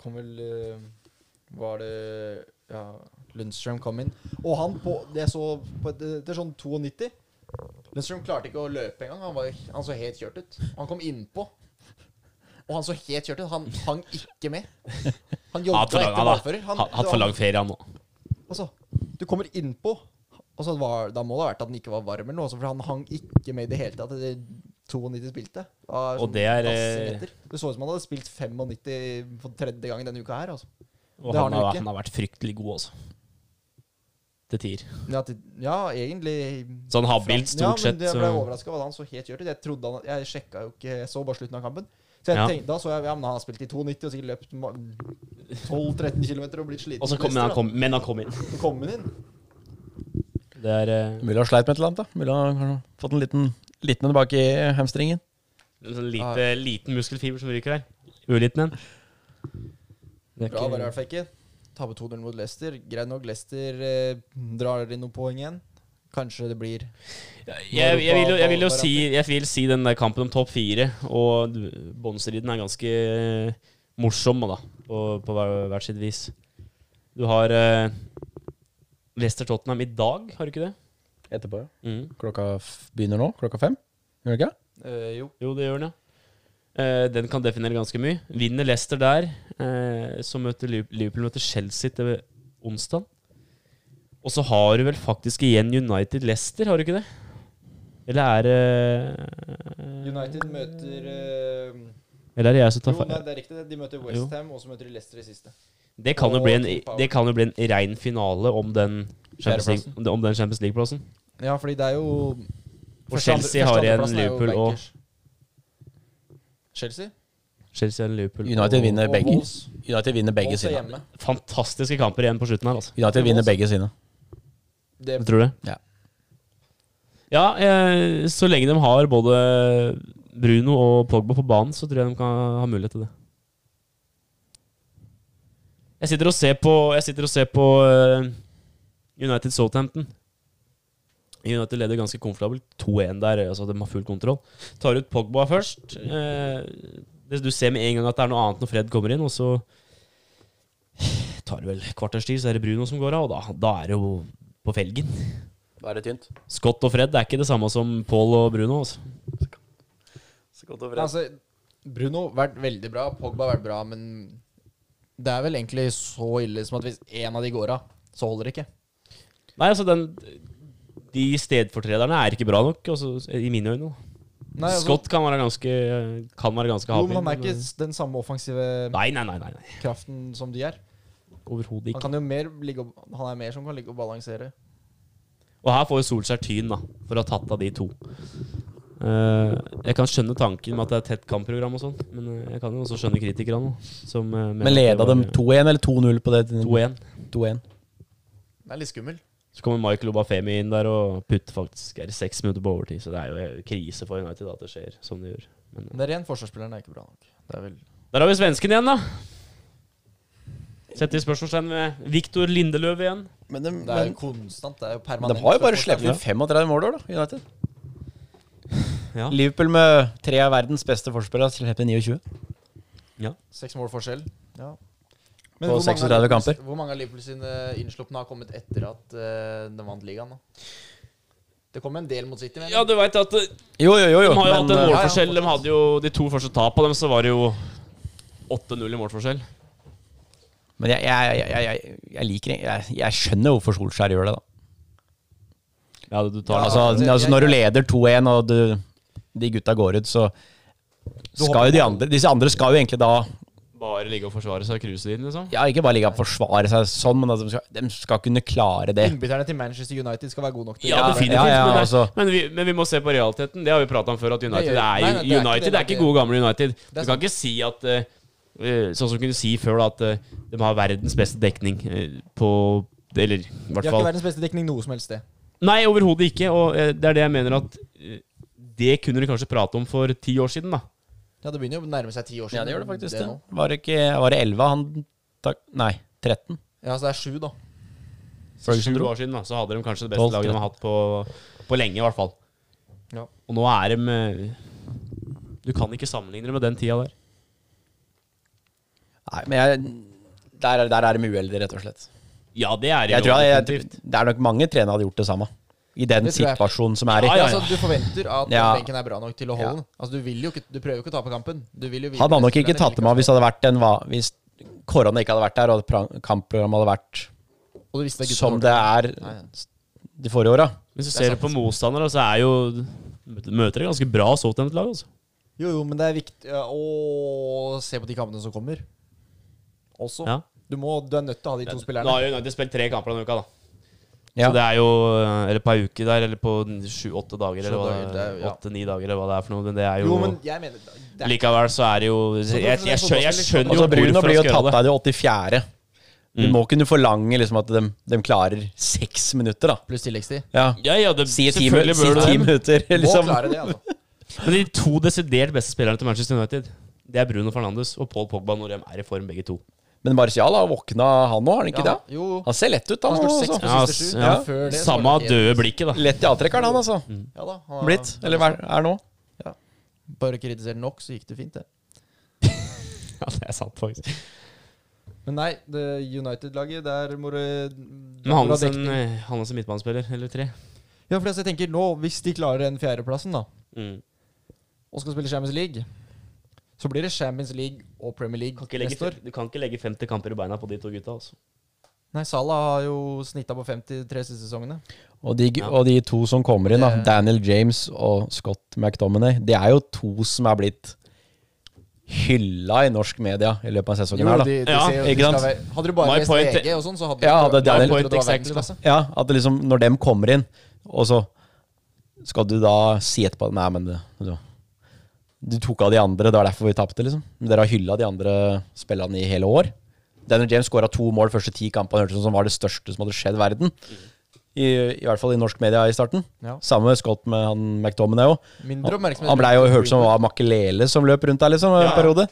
S3: kom vel eh, Var det Ja, Lundstrøm kom inn. Og han på Det jeg så på et, til sånn 92. Lundstrøm klarte ikke å løpe engang. Han, var, han så helt kjørt ut. Han kom innpå. Og han så helt kjørt ut. Han hang ikke med. Han
S2: Han hadde
S3: jogga
S2: for lang-
S3: etter ballfører.
S2: han har hatt for lang ferie, han nå.
S3: Altså, du kommer innpå, og så var, da må det ha vært at den ikke var varm eller noe, altså, for han hang ikke med i det hele tatt. Det 92 spilte. Da er
S2: Og
S3: sånn
S2: det er,
S3: dassing
S2: eh,
S3: etter. Det så ut som han hadde spilt 95 for tredje gang denne uka her, altså.
S2: Og
S3: Det har
S2: han
S3: han jo
S2: har,
S3: ikke.
S2: han har vært fryktelig god, altså. Til tier.
S3: Ja, til, ja egentlig
S2: Sånn habilt, stort
S3: Ja, men
S2: sett.
S3: jeg ble
S2: så-
S3: overraska over at han så helt kjørt ut. Jeg trodde han Jeg sjekka jo ikke Jeg så bare slutten av kampen. Så jeg
S2: Ja.
S3: tenkte, da så jeg ja, men han har spilt i 92 og sikkert løpt ma- 12-13 km og blitt sliten.
S2: Og så
S3: på
S2: kom, men,
S3: neste,
S2: han
S3: da.
S2: kom, men han kom inn.
S3: Så kom han inn.
S2: Det er eh,
S4: Mulig han sleit med et eller annet. da Mulig han har fått en liten liten en bak i hamstringen.
S2: En sånn lite,
S3: Ah.
S2: liten muskelfiber som ryker her. Uliten en. Det er
S3: Bra var det i
S2: ikke,
S3: hvert fall ikke. Tape 2-0 mot Leicester. Greit nok, Leicester eh, drar inn noen poeng igjen. Kanskje det blir
S2: jeg, jeg, jeg, vil, jo- jeg vil jo si Jeg vil si den der kampen om topp fire og båndstriden er ganske eh, morsom, da, på, på hver, hvert sitt vis. Du har eh, Leicester Tottenham i dag, har du ikke det? Mm.
S4: Etterpå, ja. Klokka f begynner nå. Klokka fem. Gjør det ikke?
S3: eh, Jo.
S2: Jo, det gjør den, ja. Eh, den kan definere ganske mye. Vinner Leicester der, eh, så møter Liv- Liverpool møter Chelsea til onsdag. Og så har du vel faktisk igjen United Leicester, har du ikke det? Eller er det
S3: United møter eh,
S2: Eller er det jeg som tar
S3: Jo, nei,
S2: feil?
S3: det er riktig. det. De møter
S2: Jo.
S3: Westham, og så møter de Leicester i siste.
S2: Det kan jo
S3: og
S2: bli en,
S3: King Power.
S2: det kan jo bli en rein finale om den Champions
S3: Fjerdeplassen.
S2: League- om den Champions League-plassen.
S3: Ja, fordi det er jo
S2: Og
S3: Første-
S2: Chelsea
S3: andre-
S2: har
S3: første-
S2: igjen
S3: andreplassen er jo
S2: Liverpool og-
S3: bankers. Chelsea?
S2: Chelsea eller Liverpool.
S4: United
S2: Og-
S4: vinner
S3: og
S4: begge.
S3: Wolves.
S4: United vinner begge
S3: Wolves er
S4: sine.
S3: hjemme.
S2: Fantastiske kamper igjen på slutten her, altså.
S4: United vinner begge sine.
S3: Det,
S2: Jeg tror det.
S4: Ja.
S2: Ja, eh, så lenge de har både Bruno og Pogba på banen, så tror jeg de kan ha mulighet til det. Jeg sitter og ser på, jeg sitter og ser på eh, United Southampton. United leder ganske komfortabelt. 2-1 der, altså de har full kontroll. Tar ut Pogba først. Eh, det, du ser med en gang at det er noe annet når Fred kommer inn, og så tar det vel et kvarters tid, så er det Bruno som går av, og da, da er det jo på felgen.
S4: Da er det tynt.
S2: Scott og Fred er ikke det samme som Paul og Bruno. Altså.
S3: Men Altså, Bruno har vært veldig bra, Pogba har vært bra, men det er vel egentlig så ille som at hvis én av de går av, så holder det ikke.
S2: Nei, altså den De stedfortrederne er ikke bra nok, altså, i mine øyne. da.
S3: Nei, altså,
S2: Scott kan være ganske Kan være ganske
S3: jo,
S2: habil.
S3: men han er ikke s- den samme offensive
S2: Nei, nei, nei. nei, nei.
S3: kraften som de er.
S2: Overhodet
S3: Han,
S2: ikke.
S3: kan jo mer ligge og, han er mer som kan ligge og balansere.
S2: Og her får jo Solskjær tyn da for å ha tatt av de to. Eh, jeg kan skjønne tanken med at det er et tett kampprogram, og sånn men eh, jeg kan jo også skjønne kritikerne. da, Som, eh, mener
S4: Men
S2: at det
S4: leda
S2: var,
S4: dem
S2: eh,
S4: 2-1 eller 2-0 på det?
S2: 2-1.
S4: 2-1.
S3: Det er litt skummel.
S2: Så kommer Michael Obafemi inn der og putter faktisk er det seks minutter på overtid. Så det er jo eh, krise for United at det skjer som det gjør. Men, eh,
S3: Men det er igjen forsvarsspilleren er ikke bra nok. Det er vel
S2: der har vi svensken igjen, da. Setter spørsmålstegn ved Viktor Lindeløv igjen.
S4: Men de,
S3: Det er jo konstant. Det er jo permanent.
S4: de har jo bare
S3: forsvarsspill.
S4: sluppet inn 35 mål i år, da. United.
S2: Ja.
S4: Liverpool med tre av verdens beste forspillere slipper inn 29.
S3: Seks mål forskjell. Ja.
S4: På
S3: hvor mange
S4: 36
S3: av Liverpool-
S4: kamper.
S3: Hvor mange av Liverpool sine innslupne har kommet etter at eh, de vant ligaen? da? Det kom en del mot City, men
S2: Ja, du veit at eh,
S4: Jo, jo, jo. jo.
S2: De har jo hatt en
S4: Men, eh,
S2: målforskjell. De hadde jo de to første tapene dem, så var det jo 8-0 i målforskjell.
S4: men jeg, jeg, jeg, jeg, jeg, jeg liker jeg, jeg skjønner hvorfor Solskjær gjør det, da.
S2: Ja, du
S3: Ja,
S2: tar
S4: Altså,
S3: det-
S4: altså
S3: jeg-
S4: Når du leder 2-1, og du, de gutta går ut, så skal jo de andre Disse andre skal jo egentlig da
S2: Bare ligge og forsvare seg og cruise inn, liksom.
S4: Ja, ikke bare ligge og forsvare seg sånn, men at de skal, de skal kunne klare det.
S3: innbytterne til Manchester United skal være gode nok til
S2: Ja,
S4: Ja,
S2: definitivt.
S4: ja, ja,
S2: men, det-
S4: altså.
S2: men, vi, men vi må se på realiteten. Det har vi prata om før, at United
S3: Nei,
S2: er,
S3: nei, nei, det er ikke
S2: United
S3: det,
S2: er ikke
S3: det-
S2: gode, gamle United. Du
S3: er
S2: kan ikke si at eh, eh, Sånn som du kunne si før, da, at eh, de har verdens beste dekning eh, på Eller i
S3: De
S2: hvert
S3: har ikke
S2: fall
S3: verdens beste dekning noe som helst sted.
S2: Nei, overhodet ikke. Og eh, det er det jeg mener at eh, Det kunne du kanskje prate om for ti år siden, da.
S3: Ja, Det begynner jo å nærme seg ti år siden.
S4: Ja, det gjør det faktisk.
S3: nå.
S4: Det var det ikke Var det 11 han tak, Nei, 13.
S3: Ja, så det er sju, da.
S4: Ferguson
S2: Sju
S4: dro.
S2: år siden da, så hadde de kanskje det
S4: Tolv,
S2: beste laget de har hatt på, på lenge, i hvert fall.
S3: Ja.
S2: Og nå er de eh, Du kan ikke sammenligne det med den tida der.
S4: Nei, men jeg, der, er- der er de uheldige, rett og slett.
S2: Ja, det er
S4: Jeg
S2: jo
S4: tror jeg, jeg,
S2: definitivt.
S4: Det er nok mange trenere hadde gjort det samme. I den
S3: Det tror jeg.
S4: situasjonen som er i.
S2: Ja, ja, ja.
S3: Altså, Du forventer at
S4: Ja.
S3: benken er bra nok til å
S4: Ja.
S3: holde den. Altså, Du vil jo ikke, du prøver jo ikke å tape kampen. Du vil jo vise-
S4: Han hadde nok ikke
S3: spillerne vil
S4: tatt dem av hvis det hadde vært en va- Hvis korona ikke hadde vært der, og pra- kampprogrammet hadde vært
S3: Og du visste at gutta
S4: som
S3: var
S4: det
S3: dårlige.
S4: er
S3: Nei, nei.
S4: de forrige åra.
S2: Hvis du
S3: Det er
S2: ser på motstandere, så er jo Møter et ganske bra Southampton-lag, altså.
S3: Jo, jo, men det er viktig ja, å se på de kampene som kommer. Også.
S2: Ja.
S3: Du, må, du er nødt til å ha de to
S2: Nå
S3: spillerne.
S2: har jo United spilt tre kamper denne uka, da.
S4: Ja.
S2: Så det er jo eh, Eller på ei uke der, eller på sju-åtte dager, eller
S3: Sju
S2: hva
S3: dager,
S2: det
S3: det er jo-
S2: er.
S3: ja.
S2: Åtte-ni dager, eller hva det er for noe. Men det er jo,
S3: Jo, men jeg mener det er,
S2: Likevel så er det jo Jeg, jeg, jeg, skjø- jeg skjønner jo
S4: Altså, Bruno
S2: hvorfor han
S4: blir jo
S2: skal gjøre
S4: tatt
S2: det.
S4: av i det 84. Du må kunne forlange liksom at de, de klarer seks minutter, da.
S3: Pluss tilleggstid.
S4: Ja.
S2: Ja, ja, det,
S4: Si ti, minu-
S2: selvfølgelig
S4: si
S2: bør du
S4: ti
S2: det.
S4: minutter,
S3: Må
S4: liksom.
S3: klare det, altså.
S2: Men de to desidert beste spillerne til Manchester United, det er Bruno Fernandes og Paul Pogba når de er i form, begge to.
S4: Men Martial har våkna, han òg, har han ikke
S3: Ja,
S4: det?
S3: jo, jo.
S4: Han ser lett ut,
S3: Han
S4: han.
S3: har skåret
S4: altså.
S3: seks på
S2: Ja,
S3: siste
S2: s-
S3: sju.
S2: ja.
S3: Men før det så
S2: Samme
S3: var det helt-
S2: døde blikket, da.
S4: Lett i avtrekkeren, han, altså.
S3: Mm. Ja da, han-
S4: Blitt. Eller hva er- er nå.
S3: Bare kritisere nok, så gikk det fint, det.
S2: Ja, det er sant, faktisk.
S3: Men nei, det United-laget, der må det
S2: Men han er som, han er som midtbanespiller, eller tre.
S3: Ja, for altså, jeg tenker nå, hvis de klarer den fjerdeplassen, da,
S2: Mm.
S3: og skal spille Champions League, så blir det Champions League og Premier League
S2: Kan ikke legge,
S3: neste år.
S2: du kan ikke legge 50 kamper i beina på de to gutta, altså.
S3: Nei, Salah har jo snitta på 50 tre siste sesongene.
S4: Og de, og de to som kommer inn, da,
S3: Det-
S4: Daniel James og Scott McDominay, det er jo to som er blitt hylla i norsk media i løpet av sesongen her, da.
S3: de, de
S2: Ja,
S3: ser jo- de
S4: ikke sant?
S3: skal være- Hadde du bare
S2: My
S3: lest
S2: point-
S3: VG og sånn, så hadde du
S4: Ja, hadde
S3: trodd at
S4: Daniel-
S3: det var
S2: exactly,
S3: verdensklasse.
S4: Ja, at det liksom når dem kommer inn, og så skal du da si etterpå Nei, men det, du, du tok av de andre, det var derfor vi tapte, liksom. Men dere har hylla de andre spillerne i hele år. Daniel James skåra to mål første ti kampene, hørtes ut som var det største som hadde skjedd verden. I, I hvert fall i norsk media i starten.
S3: Ja.
S4: Samme med Scott med han McTominay òg.
S3: Mindre
S4: Han,
S3: oppmerksomhet.
S4: han blei jo hørt som det var Makelele som løp rundt der, liksom, en
S2: Ja.
S4: periode.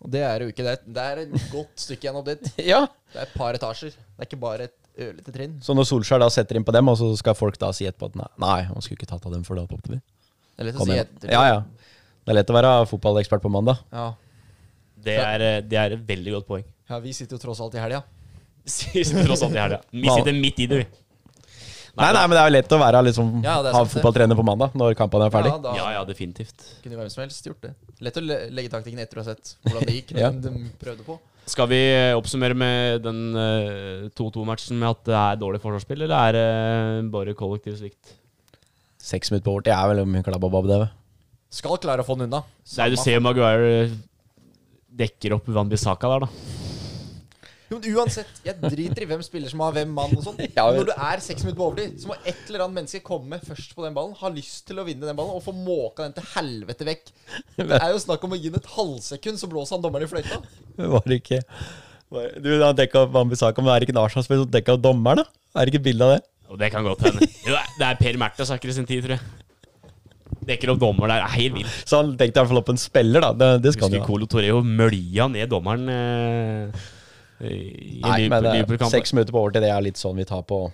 S3: Og det er jo ikke det. er- Det er et godt stykke igjen opp dit.
S4: Ja.
S3: Det er et par etasjer. Det er ikke bare et ørlite trinn.
S4: Så når Solskjær da setter inn på dem, og så skal folk da si etterpå at nei, nei han skulle ikke tatt av dem, for da tapte vi.
S3: Det er lett å
S4: Kom
S3: si
S4: igjen.
S3: etter.
S4: Ja, ja. Det er lett å være fotballekspert på mandag.
S3: Ja.
S2: Det er, eh, det er et veldig godt poeng.
S3: Ja, vi sitter jo tross alt i helga.
S2: Sist tross alt i helga. Vi sitter midt i det, vi.
S4: Nei, nei, men det er jo lett å være liksom,
S3: Ja, det er
S4: ha
S3: sant, det.
S4: fotballtrener på mandag når kampene er ferdig.
S3: Ja, da
S2: Ja, ja, definitivt.
S3: kunne jo hvem som helst gjort det. Lett å le legge taktikken etter å ha sett hvordan det gikk.
S4: Ja.
S3: Når de prøvde på
S2: Skal vi eh, oppsummere med den eh, 2-2-matchen med at det er dårlig forsvarsspill, eller er det eh, bare kollektiv svikt?
S4: Seks minutter på overtid er vel mye klabba bab, det. vel.
S3: Skal klare å få den unna.
S2: Nei, du
S3: Samme.
S2: ser jo Maguire eh, dekker opp Van Bissaka der, da.
S3: Jo, men uansett, jeg driter i hvem spiller som har hvem mann og sånn.
S4: Ja, men-
S3: Når du er seks minutter på overtid, så må et eller annet menneske komme først på den ballen, ha lyst til å vinne den ballen og få måka den til helvete vekk. Det er jo snakk om å gi den et halvsekund, så blåser han dommeren i fløyta.
S4: Det var ikke var, Du, han dekka opp Ambisaka, men er det ikke en Arsenal-spiller som dekka opp dommeren, da? Er det ikke et bilde av det?
S2: Og det kan godt hende. Jo, Det er Per Märtha Saker i sin tid, tror jeg. Dekker opp dommer der. Det er helt vilt.
S4: Så han tenkte i hvert fall opp en spiller, da. Det, det skal
S2: Husker
S4: han jo. ha.
S2: Colo Toreo mølja ned dommeren eh, i
S4: Nei, men det er
S2: Liverpool-kampen.
S4: seks minutter på overtid, det er litt sånn vi tar på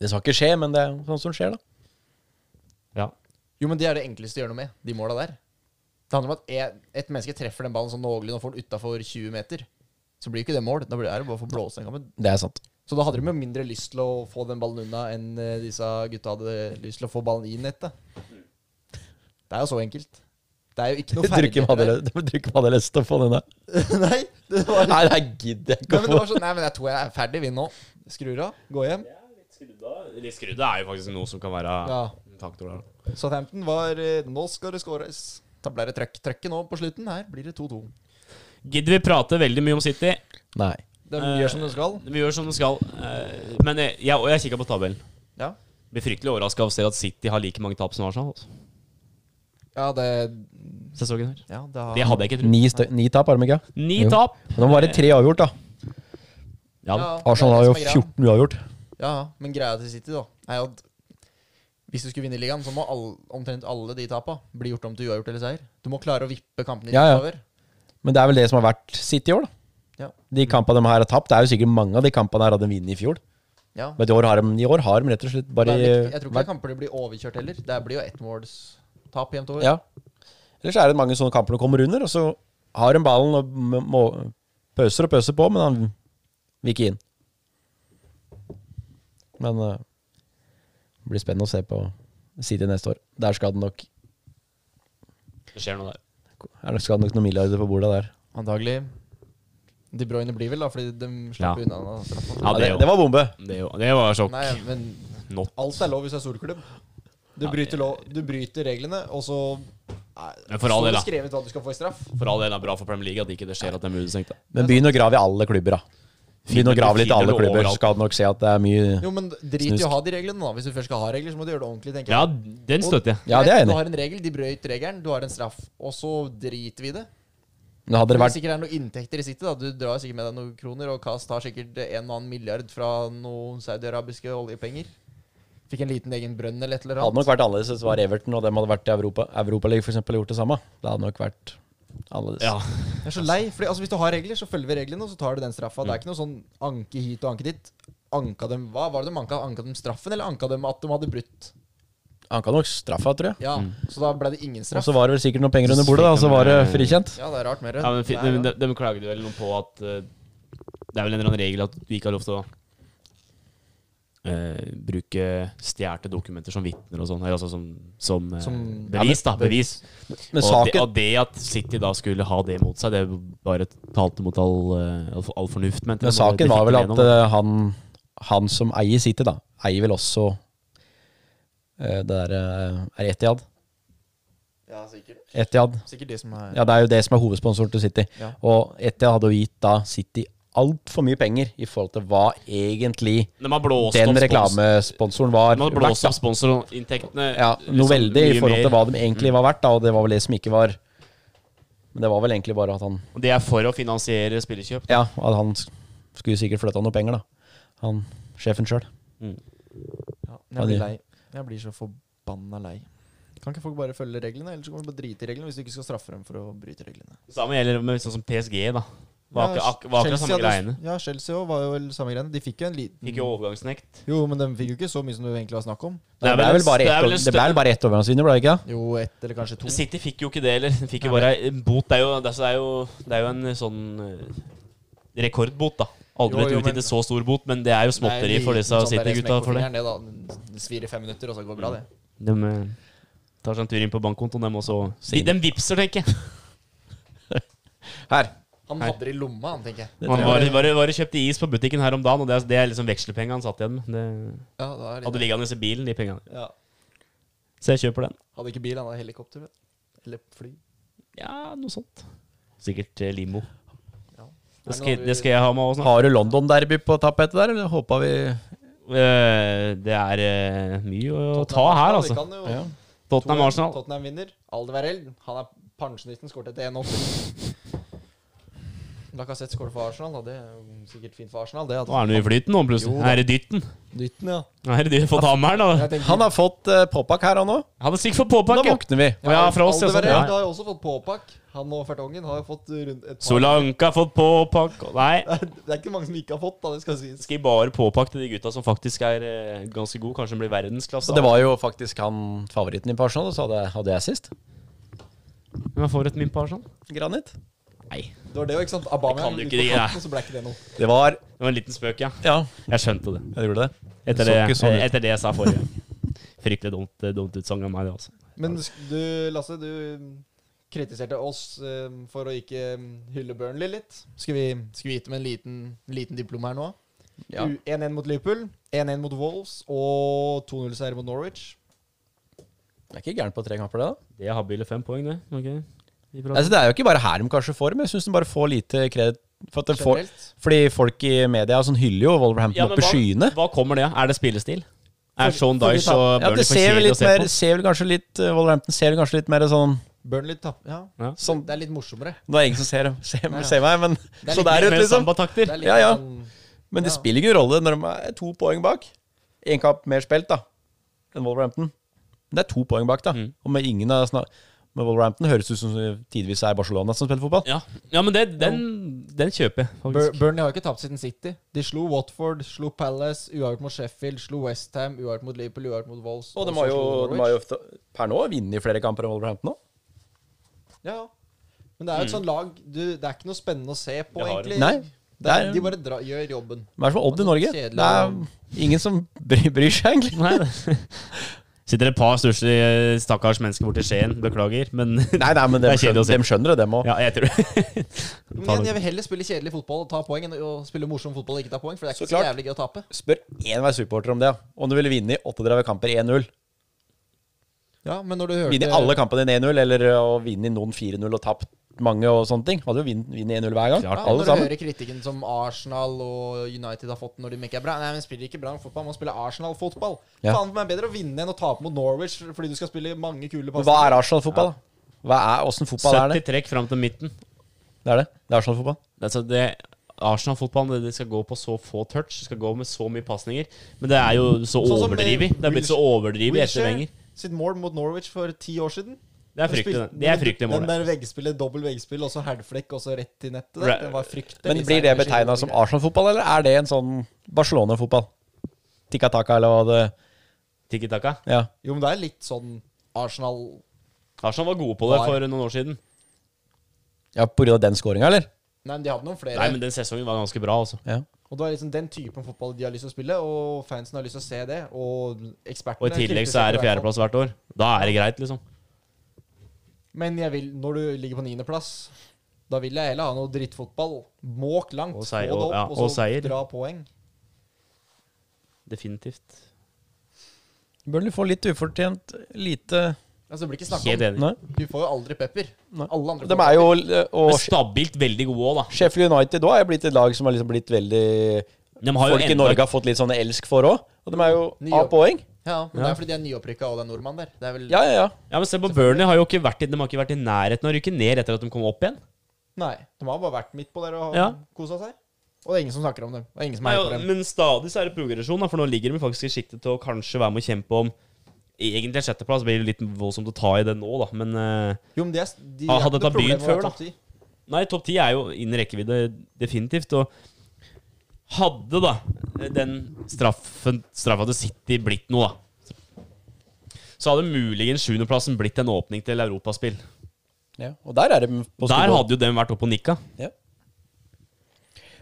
S4: Det skal ikke skje, men det er sånn som skjer, da.
S2: Ja.
S3: Jo, men det er det enkleste å gjøre noe med, de måla der. Det handler om at et, et menneske treffer den ballen sånn noenlunde og får den utafor 20 meter. Så blir ikke det mål. Da blir det er det bare å få blåse den kampen.
S4: Det er sant.
S3: Så da hadde de jo mindre lyst til å få den ballen unna enn eh, disse gutta hadde lyst til å få ballen i nettet. Det er jo så enkelt. Det er jo ikke noe
S4: Drukk hva
S3: ferdigheter
S4: dere drukk hva dere har lyst til å få den der.
S3: der. Nei, det var, nei,
S4: Nei, det gidder jeg ikke
S3: men
S4: å
S3: det
S4: få.
S3: var sånn Nei, men jeg tror jeg er ferdig, vi nå. Skrur av, går hjem.
S2: Litt skrudde er jo faktisk noe som kan være
S3: Ja.
S2: en faktor der.
S3: Southampton var eh, Nå skal det skåres. Da ble det trøkk. Trøkket nå på slutten. Her blir det 2-2.
S2: Gidder vi prate veldig mye om City?
S4: Nei.
S3: De
S2: Eh,
S3: gjør som de skal.
S2: Vi gjør som det skal. eh, Men jeg, jeg, og jeg kikka på tabellen.
S3: Ja.
S2: Blir fryktelig overraska av å se at City har like mange tap som Arsenal. altså.
S3: Ja, det
S2: Sesongen her.
S3: Ja, det har
S2: Det hadde jeg ikke trodd.
S4: Ni, stø ni tap, har de ikke?
S2: Ni
S4: Jo.
S2: tap.
S4: Nå var det tre avgjort, da.
S2: Ja, da.
S4: Arsenal har jo
S3: det er det som er greia.
S4: 14 uavgjort.
S3: Ja, men greia til City, da, er jo at hvis du skulle vinne ligaen, så må all, omtrent alle de tapa bli gjort om til uavgjort eller seier. Du må klare å vippe kampene i
S4: Ja,
S3: din
S4: ja.
S3: favør.
S4: Men det er vel det som har vært City i år, da.
S3: Ja.
S4: De kampene de her har tapt, det er jo sikkert mange av de kampene her hadde de vunnet i fjor.
S3: Ja.
S4: Men i år har de, i år har de rett og slett bare
S3: Det er viktig. Jeg tror ikke kamper blir overkjørt heller. Det blir jo ettmålstap jevnt over.
S4: Ja. Ellers er det mange sånne kamper de kommer under, og så har de ballen og m- må, pøser og pøser på, men han vil ikke inn. Men eh, det blir spennende å se på City neste år. Der skal det nok,
S2: Det skjer noe der.
S4: er det skal det nok noen milliarder på bordet der.
S3: Antagelig. De Bruyne blir vel, da, fordi de slapp
S2: Ja.
S3: unna den straffen.
S2: Ja,
S4: Ja,
S2: det,
S4: det, det var bombe!
S2: det, jo- det var sjokk.
S3: Nei, men
S2: Not.
S3: alt er lov hvis det er storklubb. Du bryter, lov, du bryter reglene, og så
S2: Men for all del,
S3: står det
S2: da.
S3: skrevet hva du skal få i straff.
S2: For all del er det bra for Premier League at ikke det skjer at det er mulig senkt.
S4: Men begynn å grave i alle klubber, da. Begynn å grave litt i alle
S2: Finner du
S4: klubber, så
S2: overalt.
S4: skal du nok se at det er mye
S3: Jo, men drit i
S4: Snusk.
S3: å ha de reglene, da. Hvis du først skal ha regler, så må du gjøre det ordentlig, tenker jeg.
S2: Ja, den støtter jeg.
S4: Ja, det er jeg enig
S3: Du
S4: i.
S3: har en regel, de brøyt regelen, du har en straff, og så driter vi i det.
S4: Nå hadde
S3: Det
S4: det
S3: er
S4: vært
S3: sikkert er noen inntekter i City, da. Du drar sikkert med deg noen kroner, og Kaz tar sikkert en og annen milliard fra noen saudiarabiske oljepenger. Fikk en liten egen brønn eller et eller
S4: Det hadde
S3: annet.
S4: nok vært annerledes hvis det var Everton og dem hadde vært i Europa. Europaligaen for eksempel gjort det samme. Det hadde nok vært annerledes.
S2: Ja.
S3: Jeg er så lei, fordi altså, hvis du har regler, så følger vi reglene, og så tar du den straffa.
S4: Mm.
S3: Det er ikke noe sånn anke hit og anke dit. Anka dem Hva var det de anka? Anka dem straffen, eller anka dem at de hadde brutt?
S4: Han kan nok straffa, tror jeg.
S3: Ja, så da ble det ingen
S4: Mm. Og
S3: straff.
S4: så var det vel sikkert noen penger under bordet, da, og så var det frikjent.
S3: Ja, det er rart med rødt.
S2: ja men, fi-
S3: Det er
S2: de,
S3: rart.
S2: de klager vel noe på at eh, det er vel en eller annen regel at du ikke har lov til å eh, bruke stjålne dokumenter som vitner og sånn. eller Altså som, som, eh,
S3: Som-
S2: bevis, da. Bevis. og,
S4: Men
S2: det,
S4: saken
S2: og det at City da skulle ha det mot seg, det bare talte mot all, eh, all, all fornuft. mente jeg.
S4: Men
S2: Det
S4: saken
S2: fikk
S4: var vel
S2: de
S4: at
S2: gjennom, da.
S4: eh, han, han som eier City, da, eier vel også eh, det der eh, Er det Etiad?
S3: Ja, sikkert.
S4: Etiad.
S3: Sikkert de som er
S4: Ja, det er jo det som er hovedsponsor til City.
S3: Ja.
S4: Og Etiad hadde jo gitt da City altfor mye penger i forhold til hva egentlig
S2: de har blåst
S4: den
S2: opp spons-
S4: reklamesponsoren var.
S2: De har
S4: verdt,
S2: blåst
S4: da.
S2: opp sponsorinntektene.
S4: Ja,
S2: liksom
S4: noe veldig i
S2: mye mer. Mm.
S4: forhold til hva de egentlig var verdt, da, og det var vel det som ikke var Men det var vel egentlig bare at han
S2: Og Det er for å finansiere spillekjøp.
S4: Ja, at han sk- skulle sikkert flytta noe penger, da. Han sjefen sjøl.
S3: Ja, men
S4: Ja,
S3: jeg blir
S4: de-
S3: lei. Jeg blir så forbanna lei. Kan ikke folk bare følge reglene, ellers så kommer de bare drite i reglene hvis du ikke skal straffe dem for å bryte reglene.
S2: Samme gjelder med sånn som PSG, da. Var
S3: Ja,
S2: akkurat ak var akkurat
S3: Chelsea
S2: samme
S3: hadde-
S2: greiene.
S3: Ja, Chelsea òg var jo vel samme greiene. De fikk jo en liten
S2: Fikk jo overgangsnekt.
S3: Jo, men de fikk jo ikke så mye som det egentlig var snakk om.
S4: Det ble
S2: en-
S4: vel bare
S2: det er vel
S4: ett
S2: en
S4: over- det ble vel bare ett overgangsvinner, ble det ikke? det?
S3: Jo, ett eller kanskje to.
S2: stø- City fikk jo ikke det, eller. De fikk jo bare en bot. Det er jo, det er så det er jo, det er jo en sånn eh, rekordbot, da. Aldri
S3: Jo,
S2: blitt
S3: jo,
S2: utgitt
S3: men-
S2: i så stor bot, men det er jo småtteri for disse
S3: sånn
S2: City-gutta for det.
S3: Det svir i fem minutter, og så går det bra, det.
S2: De eh, tar seg en tur inn på bankkontoen, dem også. De, de vipser, tenker jeg.
S4: Her.
S3: Han hadde det i lomma, han, tenker jeg.
S2: Han bare, bare, bare kjøpte is på butikken her om dagen, og det er, det er liksom vekslepengene han satt igjen med. Det
S3: Ja, da er det-
S2: hadde liggende i bilen, de pengene.
S3: ja.
S2: Så jeg kjøper den.
S3: Hadde ikke bil, han hadde helikopter. vet du. Eller fly.
S2: Ja, noe sånt. Sikkert eh, limo.
S3: Ja.
S2: Det skal, det skal jeg ha med også snart.
S4: Har du London-derby på tapetet der, eller håpa vi
S2: Eh, Det er eh, mye å ta her,
S3: Vi
S2: altså.
S3: kan jo-
S4: ja.
S2: Tottenham Arsenal.
S3: Tottenham vinner. Alderweireld. Han er pensjonisten, skåret etter 1-8. Lacassette skåret for Arsenal, og det er jo sikkert fint for Arsenal. Det at
S2: Nå er han jo i flyten nå, plutselig.
S3: Jo da.
S2: Her er det dytten.
S3: dytten, ja.
S2: Her er det dytten. Fått hammeren, da.
S3: Jeg tenker,
S4: Han har fått uh, påpakk her, han òg.
S2: Han er sikkert for
S4: Da
S2: påpakke.
S4: våkner vi.
S2: Å ja, fra oss, ja, sånn, ja.
S3: Alderweireld har jo også fått påpakk. Han og Fertongen har jo fått rundt et par
S2: Solanka har fått påpakke. Nei.
S3: Det er, det er ikke mange som ikke har fått, da, det skal sies.
S2: Skal jeg bare påpakke til de gutta som faktisk er eh, ganske gode, kanskje blir verdensklasse.
S4: Så det var jo faktisk han favoritten din på Arsenal, og så hadde, hadde jeg sist.
S2: Hvem er forretten min på Arsenal?
S4: Granit.
S2: Nei.
S3: Det var det jo, ikke sant?
S2: kan
S3: Aubameyang
S2: du
S3: gikk
S2: ikke
S3: på
S2: det, ja.
S3: kanten, så ble ikke det noe.
S4: Det var
S2: Det var en liten spøk, ja.
S4: Ja,
S2: Jeg skjønte det.
S4: jeg gjorde det.
S2: Etter
S4: Det
S2: det, eh,
S4: så ikke sånn ut.
S2: etter det jeg sa forrige. Fryktelig dumt, eh, dumt utsagn av meg, det også.
S3: Men sk- du, Lasse, du mm, kritiserte oss eh, for å ikke eh, hylle Burnley litt. Skal vi, skal vi gi dem en liten, liten diplom her nå?
S4: Ja.
S3: U- 1-1 mot Liverpool, 1-1 mot Wolves og 2-0-seier mot Norwich.
S4: Det er ikke gærent på tre kamper, det. da
S2: Det er habile fem poeng, det. Ok. Vi prater.
S4: Altså, det er jo ikke bare her de kanskje får men jeg syns de bare får lite kreditt. For at de får,
S3: Generelt.
S4: fordi folk i media og sånn hyller jo Wolverhampton
S2: Ja, men
S4: opp i skyene.
S2: hva, hva kommer det av? Er det spillestil? Er
S3: For-
S2: Sean
S3: for de
S2: Dyche
S3: tar-
S2: og
S4: Ja,
S2: Burnley
S4: det
S2: for
S4: ser vel
S2: kjedelig å
S4: litt
S2: se
S4: mer
S2: på?
S4: Ser vel kanskje litt eh, Wolverhampton ser vel kanskje litt mer sånn
S3: Burnley tapp... Ja.
S2: Ja.
S4: Sånn-
S3: Det er litt morsommere.
S4: Nå er det ingen som ser, ser,
S3: Nei, ja.
S4: ser meg, men
S3: er
S4: så
S3: litt
S4: der ut,
S2: Med
S4: liksom.
S3: Det
S2: sambatakter.
S3: er litt
S4: Ja, ja.
S3: sånn-
S4: Men det
S3: Ja.
S4: spiller ingen rolle når de er to poeng bak. Én kamp mer spilt da enn Wolverhampton. Men det er to poeng bak, da.
S2: Mm.
S4: Og med ingen av sna- med Wolverhampton høres ut som det tidvis er Barcelona som spiller fotball.
S2: Ja. ja, men det, den, den kjøper jeg,
S3: Bur
S2: faktisk.
S3: Burnley har jo ikke tapt siden City. De slo Watford, slo Palace, uavgjort mot Sheffield, slo Westham, uavgjort mot Liverpool, uavgjort mot Wolves.
S4: Og de
S3: så
S4: har jo,
S3: slo
S4: de
S3: Norwich.
S4: har jo ofte, per nå vunnet flere kamper enn Wolverhampton òg.
S3: Ja, ja. Men det er jo et sånt lag du, Det er ikke noe spennende å se på,
S2: Det har
S3: egentlig.
S4: Nei.
S3: Det er,
S4: det er-
S3: de bare dra, gjør jobben.
S4: Men det er som Odd i Norge.
S3: Kjedelig.
S4: Det er ingen som bryr, bryr seg, egentlig.
S2: Nei, det. Sitter et par stusslige stakkars mennesker borti Skien. Beklager, men
S4: Nei, nei, men de
S2: Det er kjedelig å
S4: skjønner,
S2: se.
S4: dem skjønner det, dem òg.
S2: Ja, jeg tror det.
S3: Men
S2: Ta
S3: igjen,
S2: det.
S3: jeg vil heller spille kjedelig fotball og ta poeng enn å spille morsom fotball og ikke ta poeng, for det er
S4: Så
S3: ikke så
S4: klart.
S3: jævlig gøy å tape.
S4: Spør enhver supporter om det. ja. Om du ville vunnet 38 kamper 1-0.
S3: Ja, men når du
S4: Vinne
S3: hørte
S4: alle kampene dine 1-0, eller eh, å vinne noen 4-0 og tapt mange og sånne ting. Hadde jo vinn- vunnet 1-0 hver gang.
S2: Klart.
S3: ja,
S4: Alle
S3: når du
S4: sammen.
S3: hører kritikken som Arsenal og United har fått når de ikke er bra Nei, men spiller ikke bra fotball, man spiller Arsenal-fotball.
S4: Ja.
S3: Faen, det er bedre å vinne enn å tape mot Norwich fordi du skal spille mange kule
S4: Men hva
S3: pasninger.
S4: er Arsenal-fotball, da? Hva er, Åssen fotball er
S2: 70
S4: det?
S2: trekk fram til midten.
S4: Det er det. Det er Arsenal-fotball.
S2: Altså det Arsenal-fotballen det- det skal gå på så få touch, det skal gå med så mye pasninger. Men det er jo så
S3: Sånn som med
S2: overdrivet. Det er blitt så overdrivet etter Wenger.
S3: sitt mål mot Norwich for ti år siden.
S2: Det er fryktelig, det. Det er fryktelig mål,
S3: Den der veggspillet, dobbel veggspill, og så herdflekk, og så rett i nettet. Der.
S2: Right.
S3: Det var fryktelig.
S4: Men blir det
S3: seigt.
S4: betegna som Arsenal-fotball, eller er det en sånn Barcelona-fotball? Tikka taka, eller hva det
S2: Tiki-taka.
S4: Ja.
S3: Jo, men det er litt sånn Arsenal
S2: Arsenal var gode på det
S3: Var.
S2: for noen år siden.
S4: ja på grunn av den scoringa, eller?
S3: Nei, men de hadde noen flere.
S2: Nei, men den sesongen var ganske bra, altså.
S4: Ja.
S3: Og det var liksom den typen fotball de har lyst til å spille, og fansen har lyst til å se det. Og
S2: Og
S3: ekspertene
S2: i tillegg så er det
S3: kritiserer i hvert fall.
S2: fjerdeplass hvert år. Da er det greit, liksom.
S3: Men jeg vil, når du ligger på niendeplass, da vil jeg heller ha noe drittfotball. Måk langt,
S2: Og
S3: og
S2: seier,
S3: få det
S2: og-
S3: opp,
S2: ja,
S3: og,
S2: og
S3: så
S2: seier.
S3: dra poeng.
S2: Definitivt.
S4: Burnley får litt ufortjent lite
S3: Altså, det blir ikke
S2: Helt
S3: snakk om
S2: enig.
S4: Nei.
S3: Du får jo aldri pepper.
S4: Nei.
S3: Alle andre
S4: De
S3: får
S4: er jo eh,
S2: Men
S4: Og
S2: stabilt veldig gode òg, da.
S4: Sheffield United òg er blitt et lag som har liksom blitt veldig
S2: De har jo
S4: Folk i
S2: enda-
S4: Norge har fått litt sånn elsk for òg. Og de er jo
S3: Nye-
S4: av poeng.
S3: Ja,
S2: Ja.
S3: men det er fordi de er nyopprykka, og det er nordmann der. Det er vel
S4: Ja, ja, ja.
S2: Ja, men se på Burnley har jo ikke vært i, De har ikke vært i nærheten av å rykke ned etter at de kom opp igjen.
S3: Nei, de har bare vært midt på der og
S2: Ja.
S3: kosa seg. Og det er ingen som snakker om dem. Og ingen som
S2: Nei,
S3: heier
S2: og,
S3: på dem.
S2: men stadig så er det progresjon, da, for nå ligger de faktisk i siktet til å kanskje være med å kjempe om Egentlig en sjetteplass. Det blir litt voldsomt å ta i det nå, da, men eh,
S3: Jo, men de, er, de
S2: Ah,
S3: har
S2: hadde
S3: ikke noe
S2: dette begynt
S3: problem med å
S2: før,
S3: være
S2: da?
S3: topp 10.
S2: Nei, topp ti er jo innen rekkevidde, definitivt. Og hadde da eh, den straffen, straffa til City blitt noe, da, så hadde muligens sjuendeplassen blitt en åpning til europaspill.
S4: Ja, og der er de
S2: Der
S4: på skolen.
S2: hadde jo dem vært oppe og nikka.
S4: ja.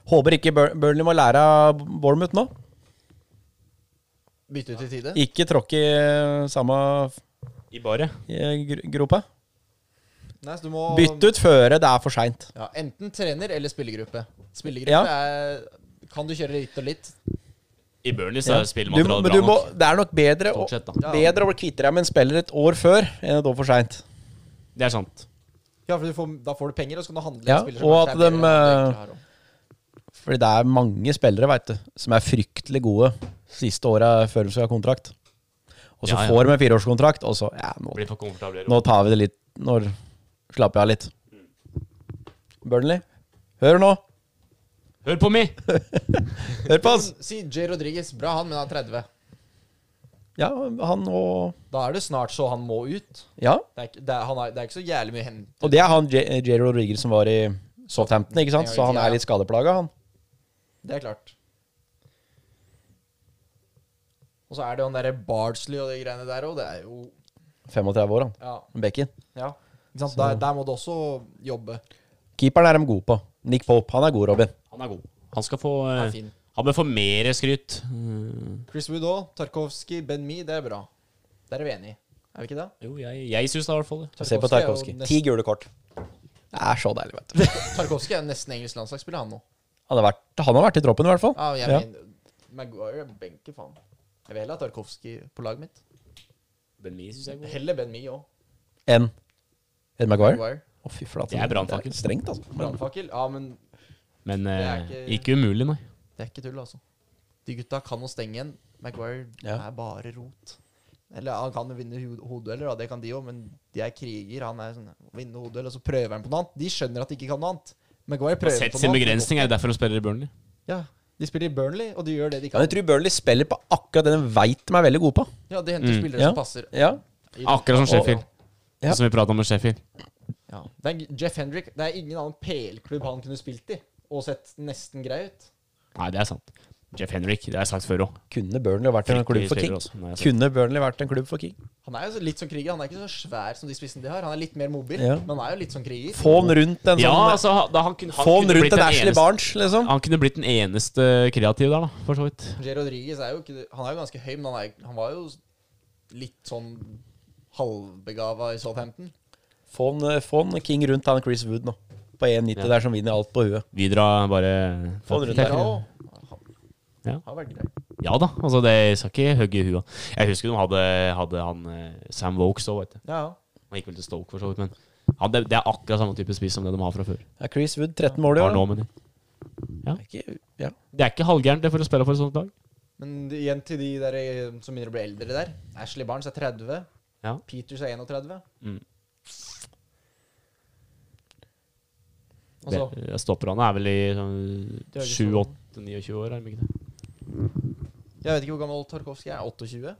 S4: Håper ikke Bur Burnley må lære av Bournemouth nå.
S3: Bytte ut i tide.
S4: Ikke tråkke i eh, samme
S2: I baret.
S4: eh, gr- gropa.
S3: Nei, så du må
S4: Bytte ut før det er for seint.
S3: Ja, enten trener eller spillergruppe. Spillergruppe
S4: Ja.
S3: er Kan du kjøre litt og litt?
S2: I Burnley så
S4: Ja.
S2: er
S4: Du må-
S2: spillematerialet
S4: men du
S2: bra
S4: må-
S2: nok.
S4: Det er nok bedre å,
S2: Stort sett, da.
S3: Ja.
S4: bedre å bli kvitt deg med en spiller et år før enn et år for seint.
S2: Det er sant.
S3: Ja, for du får, Da får du penger, og så kan du handle en
S4: Ja,
S3: spiller som
S4: og
S3: kanskje
S4: at
S3: er bedre enn det
S4: dem,
S3: du
S4: eh,
S3: egentlig har også.
S4: Fordi det er mange spillere vet du, som er fryktelig gode siste åra før de skal ha kontrakt. Og så
S2: Ja, ja.
S4: får de en fireårskontrakt, og så ja, nå,
S2: Blir for komfortabel.
S4: nå tar vi det litt Nå slapper jeg av litt. Burnley, hør nå!
S2: Hør på meg!
S4: Hør på oss!
S3: Si J. Rodriguez. Bra han, men han er 30.
S4: Ja, han og
S3: Da er det snart så han må ut.
S4: Ja.
S3: Det er, ikke- det er, han er, det er ikke så jævlig mye hen.
S4: Og det er han J- Jerry Rodriguez som var i Southampton, ikke sant? Så han er litt skadeplaga, han.
S3: Det er klart. Og så er det jo han derre Bardsley og de greiene der òg. Det er jo
S4: 35 år, han.
S3: Ja.
S4: Bekken.
S3: ja. Ikke sant? Der, der må du også jobbe.
S4: Keeperen er de gode på. Nick Pope, han er god, Robin.
S2: Han er god. Han skal få
S3: Det er
S2: eh,
S3: fin.
S2: Han bør få mer skryt. Mm.
S3: Chris Wood òg. Tarkovskij, Ben Me, det er bra. Der er vi enige. Er vi ikke det?
S2: Jo, jeg, jeg syns det, i hvert fall.
S4: Se
S3: er
S4: på
S3: jo
S4: Tarkovskij.
S3: nesten-
S4: Ti gule kort. Det er så deilig, vet du.
S3: Tarkovskij er nesten engelsk landslagsspiller, han nå.
S4: Han har vært, han har vært i troppen, i hvert fall.
S3: Ja, jeg
S4: Ja.
S3: mener Maguire er benker, faen. Jeg vil heller ha Tarkovskij på laget mitt.
S2: Ben Mee synes jeg er god.
S3: Heller Ben Me òg.
S4: Enn Ed Maguire.
S3: Maguire.
S4: Å, fy flate.
S2: Det er brannfakkel.
S4: Det er Strengt, altså.
S3: Brannfakkel. Ja, men
S2: Men eh,
S3: Det er
S2: ikke... umulig, nei.
S3: Det er ikke tull, altså. De gutta kan å stenge igjen. Maguire
S4: Ja.
S3: er bare rot. Eller Han kan jo vinne ho- hodedueller, da, det kan de òg, men de er kriger. Han er sånn vinne hodeduell, og så prøver han på noe annet. De skjønner at de ikke kan noe annet. Maguire prøver
S2: Sett
S3: på
S2: sin
S3: noe
S2: begrensning, er det derfor han spiller i Burnley?
S3: Ja, De spiller i Burnley, og de gjør det de
S4: Ja,
S3: kan.
S4: jeg tror Burnley spiller på akkurat det de veit de er veldig gode på.
S3: Ja, De henter
S2: Mm.
S3: spillere
S4: Ja.
S3: som passer.
S4: Ja.
S3: i-
S2: Akkurat som Sheffield.
S4: Ja.
S2: Som vi prata om med Sheffield.
S3: Ja. Det er Jeff Hendrick. Det er ingen annen PL-klubb han kunne spilt i og sett nesten grei ut.
S2: Nei, det er sant. Jeff Henrik, det har jeg sagt før òg.
S4: Kunne Burnley vært en klubb
S2: Fryktelig
S4: for King?
S2: spiller, altså. Nei, altså.
S4: Kunne Burnley vært en klubb for King?
S3: Han er jo så- litt som kriger. Han er ikke så svær som de spissene de har. Han er litt mer mobil,
S4: Ja.
S3: men han er jo litt som kriger.
S4: Få han rundt en
S2: Ja,
S4: sånn
S2: altså, da han kunne, han
S4: Få han
S2: kunne blitt
S4: rundt en
S2: den
S4: Ashley
S2: eneste-
S4: Barnes, liksom.
S2: Han kunne blitt den eneste kreative der, da, for så vidt.
S3: Jay Rodriguez er jo ikke Han er jo ganske høy, men han, er, han var jo litt sånn halvbegava i Southampton.
S4: Få han, eh, få han King rundt han Chris Wood nå. På 1,90
S2: Ja.
S4: der som vinner alt på huet.
S2: Vidra bare
S4: Få han rundt
S3: Ja,
S4: der.
S3: og han
S2: Ja.
S3: har vært grei.
S2: Ja da, altså det jeg skal ikke hogge i hua. Jeg husker de hadde, hadde han eh, Sam Vokes òg, vet du.
S3: Ja,
S2: Han gikk vel til Stoke, for så vidt, men han, det, det er akkurat samme type spiss som det de har fra før.
S4: Ja, Chris Wood, 13 mål i
S2: Har
S4: år.
S2: nå,
S4: da.
S2: men
S4: Ikke- Ja.
S2: Det er ikke halvgærent det for å spille for et sånt lag.
S3: Men det- igjen til de der eh, som begynner å bli eldre der. Ashley Barnes er 30.
S2: Ja.
S3: Peters er 31.
S2: Mm.
S3: Altså,
S2: Det- Stopperne er vel i sånn
S3: Det er ikke
S2: 7-8-29 år, er de ikke det?
S3: jeg vet ikke hvor gammel Tarkovskij er. 28?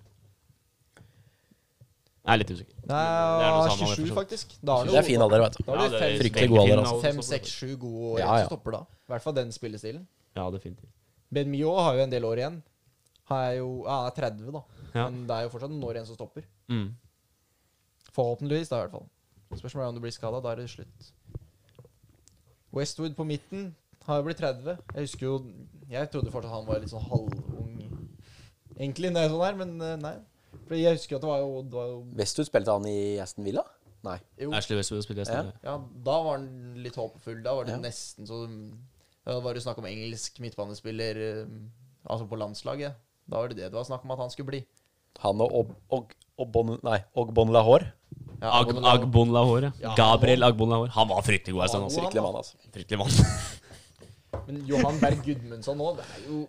S2: Jeg er litt usikker.
S3: Nei,
S2: det er noe samme, for
S3: 27,
S2: så vidt.
S3: faktisk. Da
S4: Det er fin alder, vet du.
S3: Da har du
S2: Ja, det er
S3: fem-
S4: Fryktelig god alder,
S2: fin
S3: fem, seks, sju gode år
S4: Ja,
S3: igjen,
S4: ja.
S3: så stopper da. I hvert fall den spillestilen.
S2: Ja, definitivt.
S3: Ben Mio har jo en del år igjen. Han er jo ja, han er 30, da.
S2: Ja.
S3: Men det er jo fortsatt noen år igjen som stopper.
S2: Mm.
S3: Forhåpentligvis, da, i hvert fall. Spørsmålet er om du blir skada. Da er det slutt. Westwood på midten har jo blitt 30. Jeg husker jo Jeg trodde fortsatt han var litt sånn halvung, egentlig, når jeg så den her, men eh, nei. For jeg husker at det var jo, det var jo
S4: Westwood spilte han i Aston Villa? Nei.
S3: Jo,
S2: Ashley Westwood spilte jeg snart.
S3: ja, da var han litt håpefull. Da var det
S4: Ja.
S3: nesten så Da var det snakk om engelsk midtbanespiller, eh, altså på landslaget. Da var det det det var snakk om at han skulle bli.
S4: Han og Og, og, og bon, Nei, og Bon Lahore.
S3: Ja,
S2: Ag
S3: Agbonne-
S2: Agbon Lahore. Ja.
S3: Ja,
S2: Gabriel
S3: han-
S2: Agbon Lahore. Han var fryktelig god en
S3: Han
S2: stund, altså.
S3: var
S4: Fryktelig mann, altså.
S2: Fryktelig mann.
S3: Men Johan Berg Gudmundsson nå, det er jo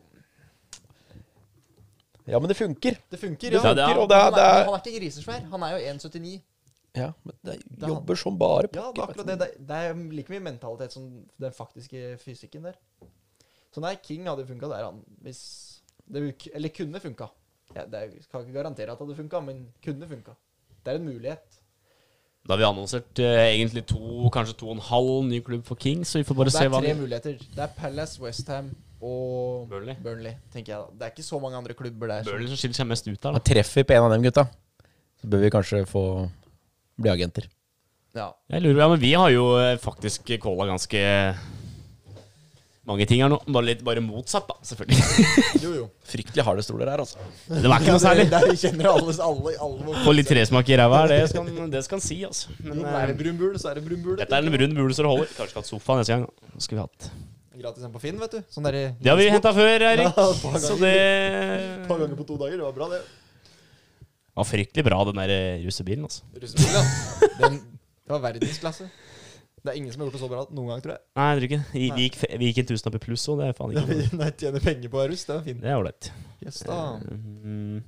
S4: Ja, men det funker.
S3: Det funker,
S4: Det
S3: ja.
S2: Ja, det er-
S4: funker,
S3: Han
S4: og det
S3: er,
S4: er, det er
S3: han er ikke grisesvær. Han er jo 1,79.
S4: Ja, men det
S3: er han.
S4: jobber som bare altså.
S3: Ja, det er akkurat det. Det er- Det er like mye mentalitet som den faktiske fysikken der. Så nei, King hadde funka der, han. Hvis det, uk- Eller kunne funka. Ja, det er- skal ikke garantere at det hadde funka, men kunne funka. Det er en mulighet.
S2: Da har vi annonsert eh, egentlig to, kanskje to og en halv ny klubb for King, så vi får bare
S3: Det
S2: se
S3: er
S2: hva
S3: tre muligheter. Det er Palace, Westham og
S2: Burnley.
S3: tenker jeg. da. Det er ikke så mange andre klubber der. som-
S2: Burnley som skiller seg mest ut der.
S4: Da
S2: Da.
S4: treffer vi på en av dem, gutta. Så bør vi kanskje få bli agenter.
S3: Ja.
S2: Jeg lurer, ja, men Vi har jo eh, faktisk calla ganske mange ting her nå. Bare litt bare motsatt, da. Selvfølgelig.
S3: Jo, jo.
S4: Fryktelig harde stoler her, altså.
S2: Det var ikke noe særlig.
S3: Der vi kjenner alle, alle, alle våre-
S2: Få litt tresmak i ræva, er det skal, det skal en si, altså. Men
S3: Jo, men
S2: eh,
S3: er det brun bule, så er det brun bule.
S2: dette er en brun bule som det holder. Kanskje skal ha sofa neste gang. da. Nå Skulle vi hatt.
S3: Gratis en på Finn, vet du. Sånn der, i-
S2: Det har vi henta før,
S3: Ja,
S2: Eirik.
S3: et par
S2: Så
S3: ganger. Et par
S2: det
S3: ganger på to dager. Det var bra, det.
S2: var fryktelig bra, den der eh, russebilen, altså.
S3: Russebil, ja. Den, det var verdensklasse. Det er ingen som har gjort det så bra noen gang, tror jeg.
S2: Nei, jeg tror ikke det. Vi gikk, vi gikk en tusenlapp i pluss, og det er faen
S3: Ja,
S2: ikke noe.
S3: vi- Nei, tjene penger på å være russ, det er fint.
S2: Det er ålreit.
S3: Yes, da.
S2: Mm.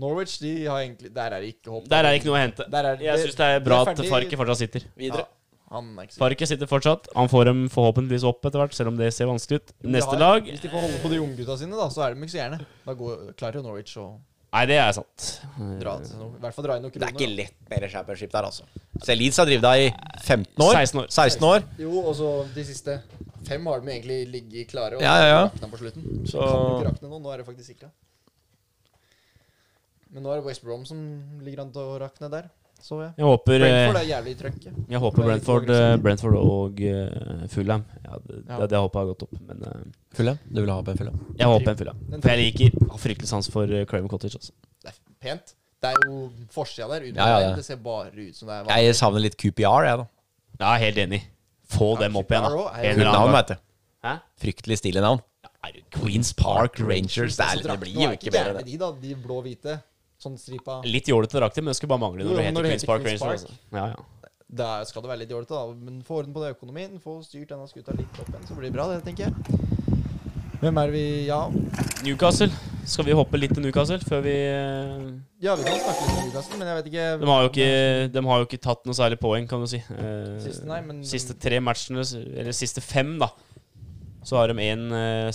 S3: Norwich, de har egentlig Der er det ikke håp.
S2: Der er det ikke noe å hente.
S3: Der er det-
S2: Jeg syns det er bra
S3: det er
S2: at
S3: ferdig-
S2: Farke fortsatt sitter.
S3: Ja, han er ikke sikker.
S2: Farke sitter fortsatt. Han får dem forhåpentligvis opp etter hvert, selv om det ser vanskelig ut.
S3: Jo, men
S2: Neste
S3: det
S2: lag
S3: har- Hvis de får holde på de unggutta sine, da, så er de ikke så gjerne. Da går, klarer jo Norwich å
S2: Nei, det er sant.
S3: dra til noe. I hvert fall dra inn noen
S4: Det er
S3: kroner.
S4: ikke
S3: da.
S4: lett mer championship der, altså. Se, Leeds har drevet deg i 15 år.
S2: 16 år.
S4: 16 år.
S3: Jo, og så de siste fem har de egentlig ligget klare, og
S4: Ja, ja, ja.
S3: rakna på slutten.
S4: Så-
S3: Kan du ikke rakne nå, nå er det faktisk sikra. Men nå er det West Brom som ligger an til å rakne der, så jeg.
S2: Jeg håper eh,
S3: Brentford er jævlig i trøkket.
S2: Jeg håper
S3: Det er
S2: Brentford,
S3: litt
S2: eh,
S3: overraskende.
S2: Brentford og eh, Fulham. Ja, det,
S3: Ja.
S2: det, det håpet har gått opp. Men eh,
S4: Fulham? Du vil ha opp en Fulham?
S2: jeg håper en Fulham.
S3: Den
S2: For jeg liker har fryktelig sans for eh, Craven Cottage. Altså.
S3: Det er pent. Det er jo forsida der. utenfor
S4: Ja, ja, ja.
S3: der, Det ser bare ut som det er
S4: Jeg savner litt QPR, jeg, da.
S2: Jeg er helt enig. Få
S3: Ja,
S2: dem opp igjen, da.
S3: Fylkar også er jo-
S2: En
S4: Kult
S2: eller
S4: navn,
S2: annen gang.
S4: vet du.
S2: Hæ?
S4: Fryktelig stille navn.
S2: Ja, er det Queens Park Rangers.
S4: Rangers, det, er, det blir jo ikke
S3: mer
S4: bedre, det.
S3: De, da, de blå-hvite. Sånn stripa
S2: Litt jålete drakt, men det skulle bare mangle
S3: Jo,
S2: når
S3: men
S2: det heter Queens Park Rangers. Altså. Ja, ja.
S3: Da skal det være litt jålete, da. Men få orden på det økonomien, få styrt denne skuta litt opp igjen, så blir det bra, det, tenker jeg. Hvem er det vi Ja,
S2: Newcastle. Skal vi hoppe litt til Newcastle før vi eh,
S3: ja vi kan snakke litt om Newcastle, men jeg vet ikke
S2: De har jo ikke, de har jo ikke tatt noe særlig poeng, kan du si. Eh,
S3: Siste, nei, men-
S2: siste tre matchene, eller siste fem, da, så har de én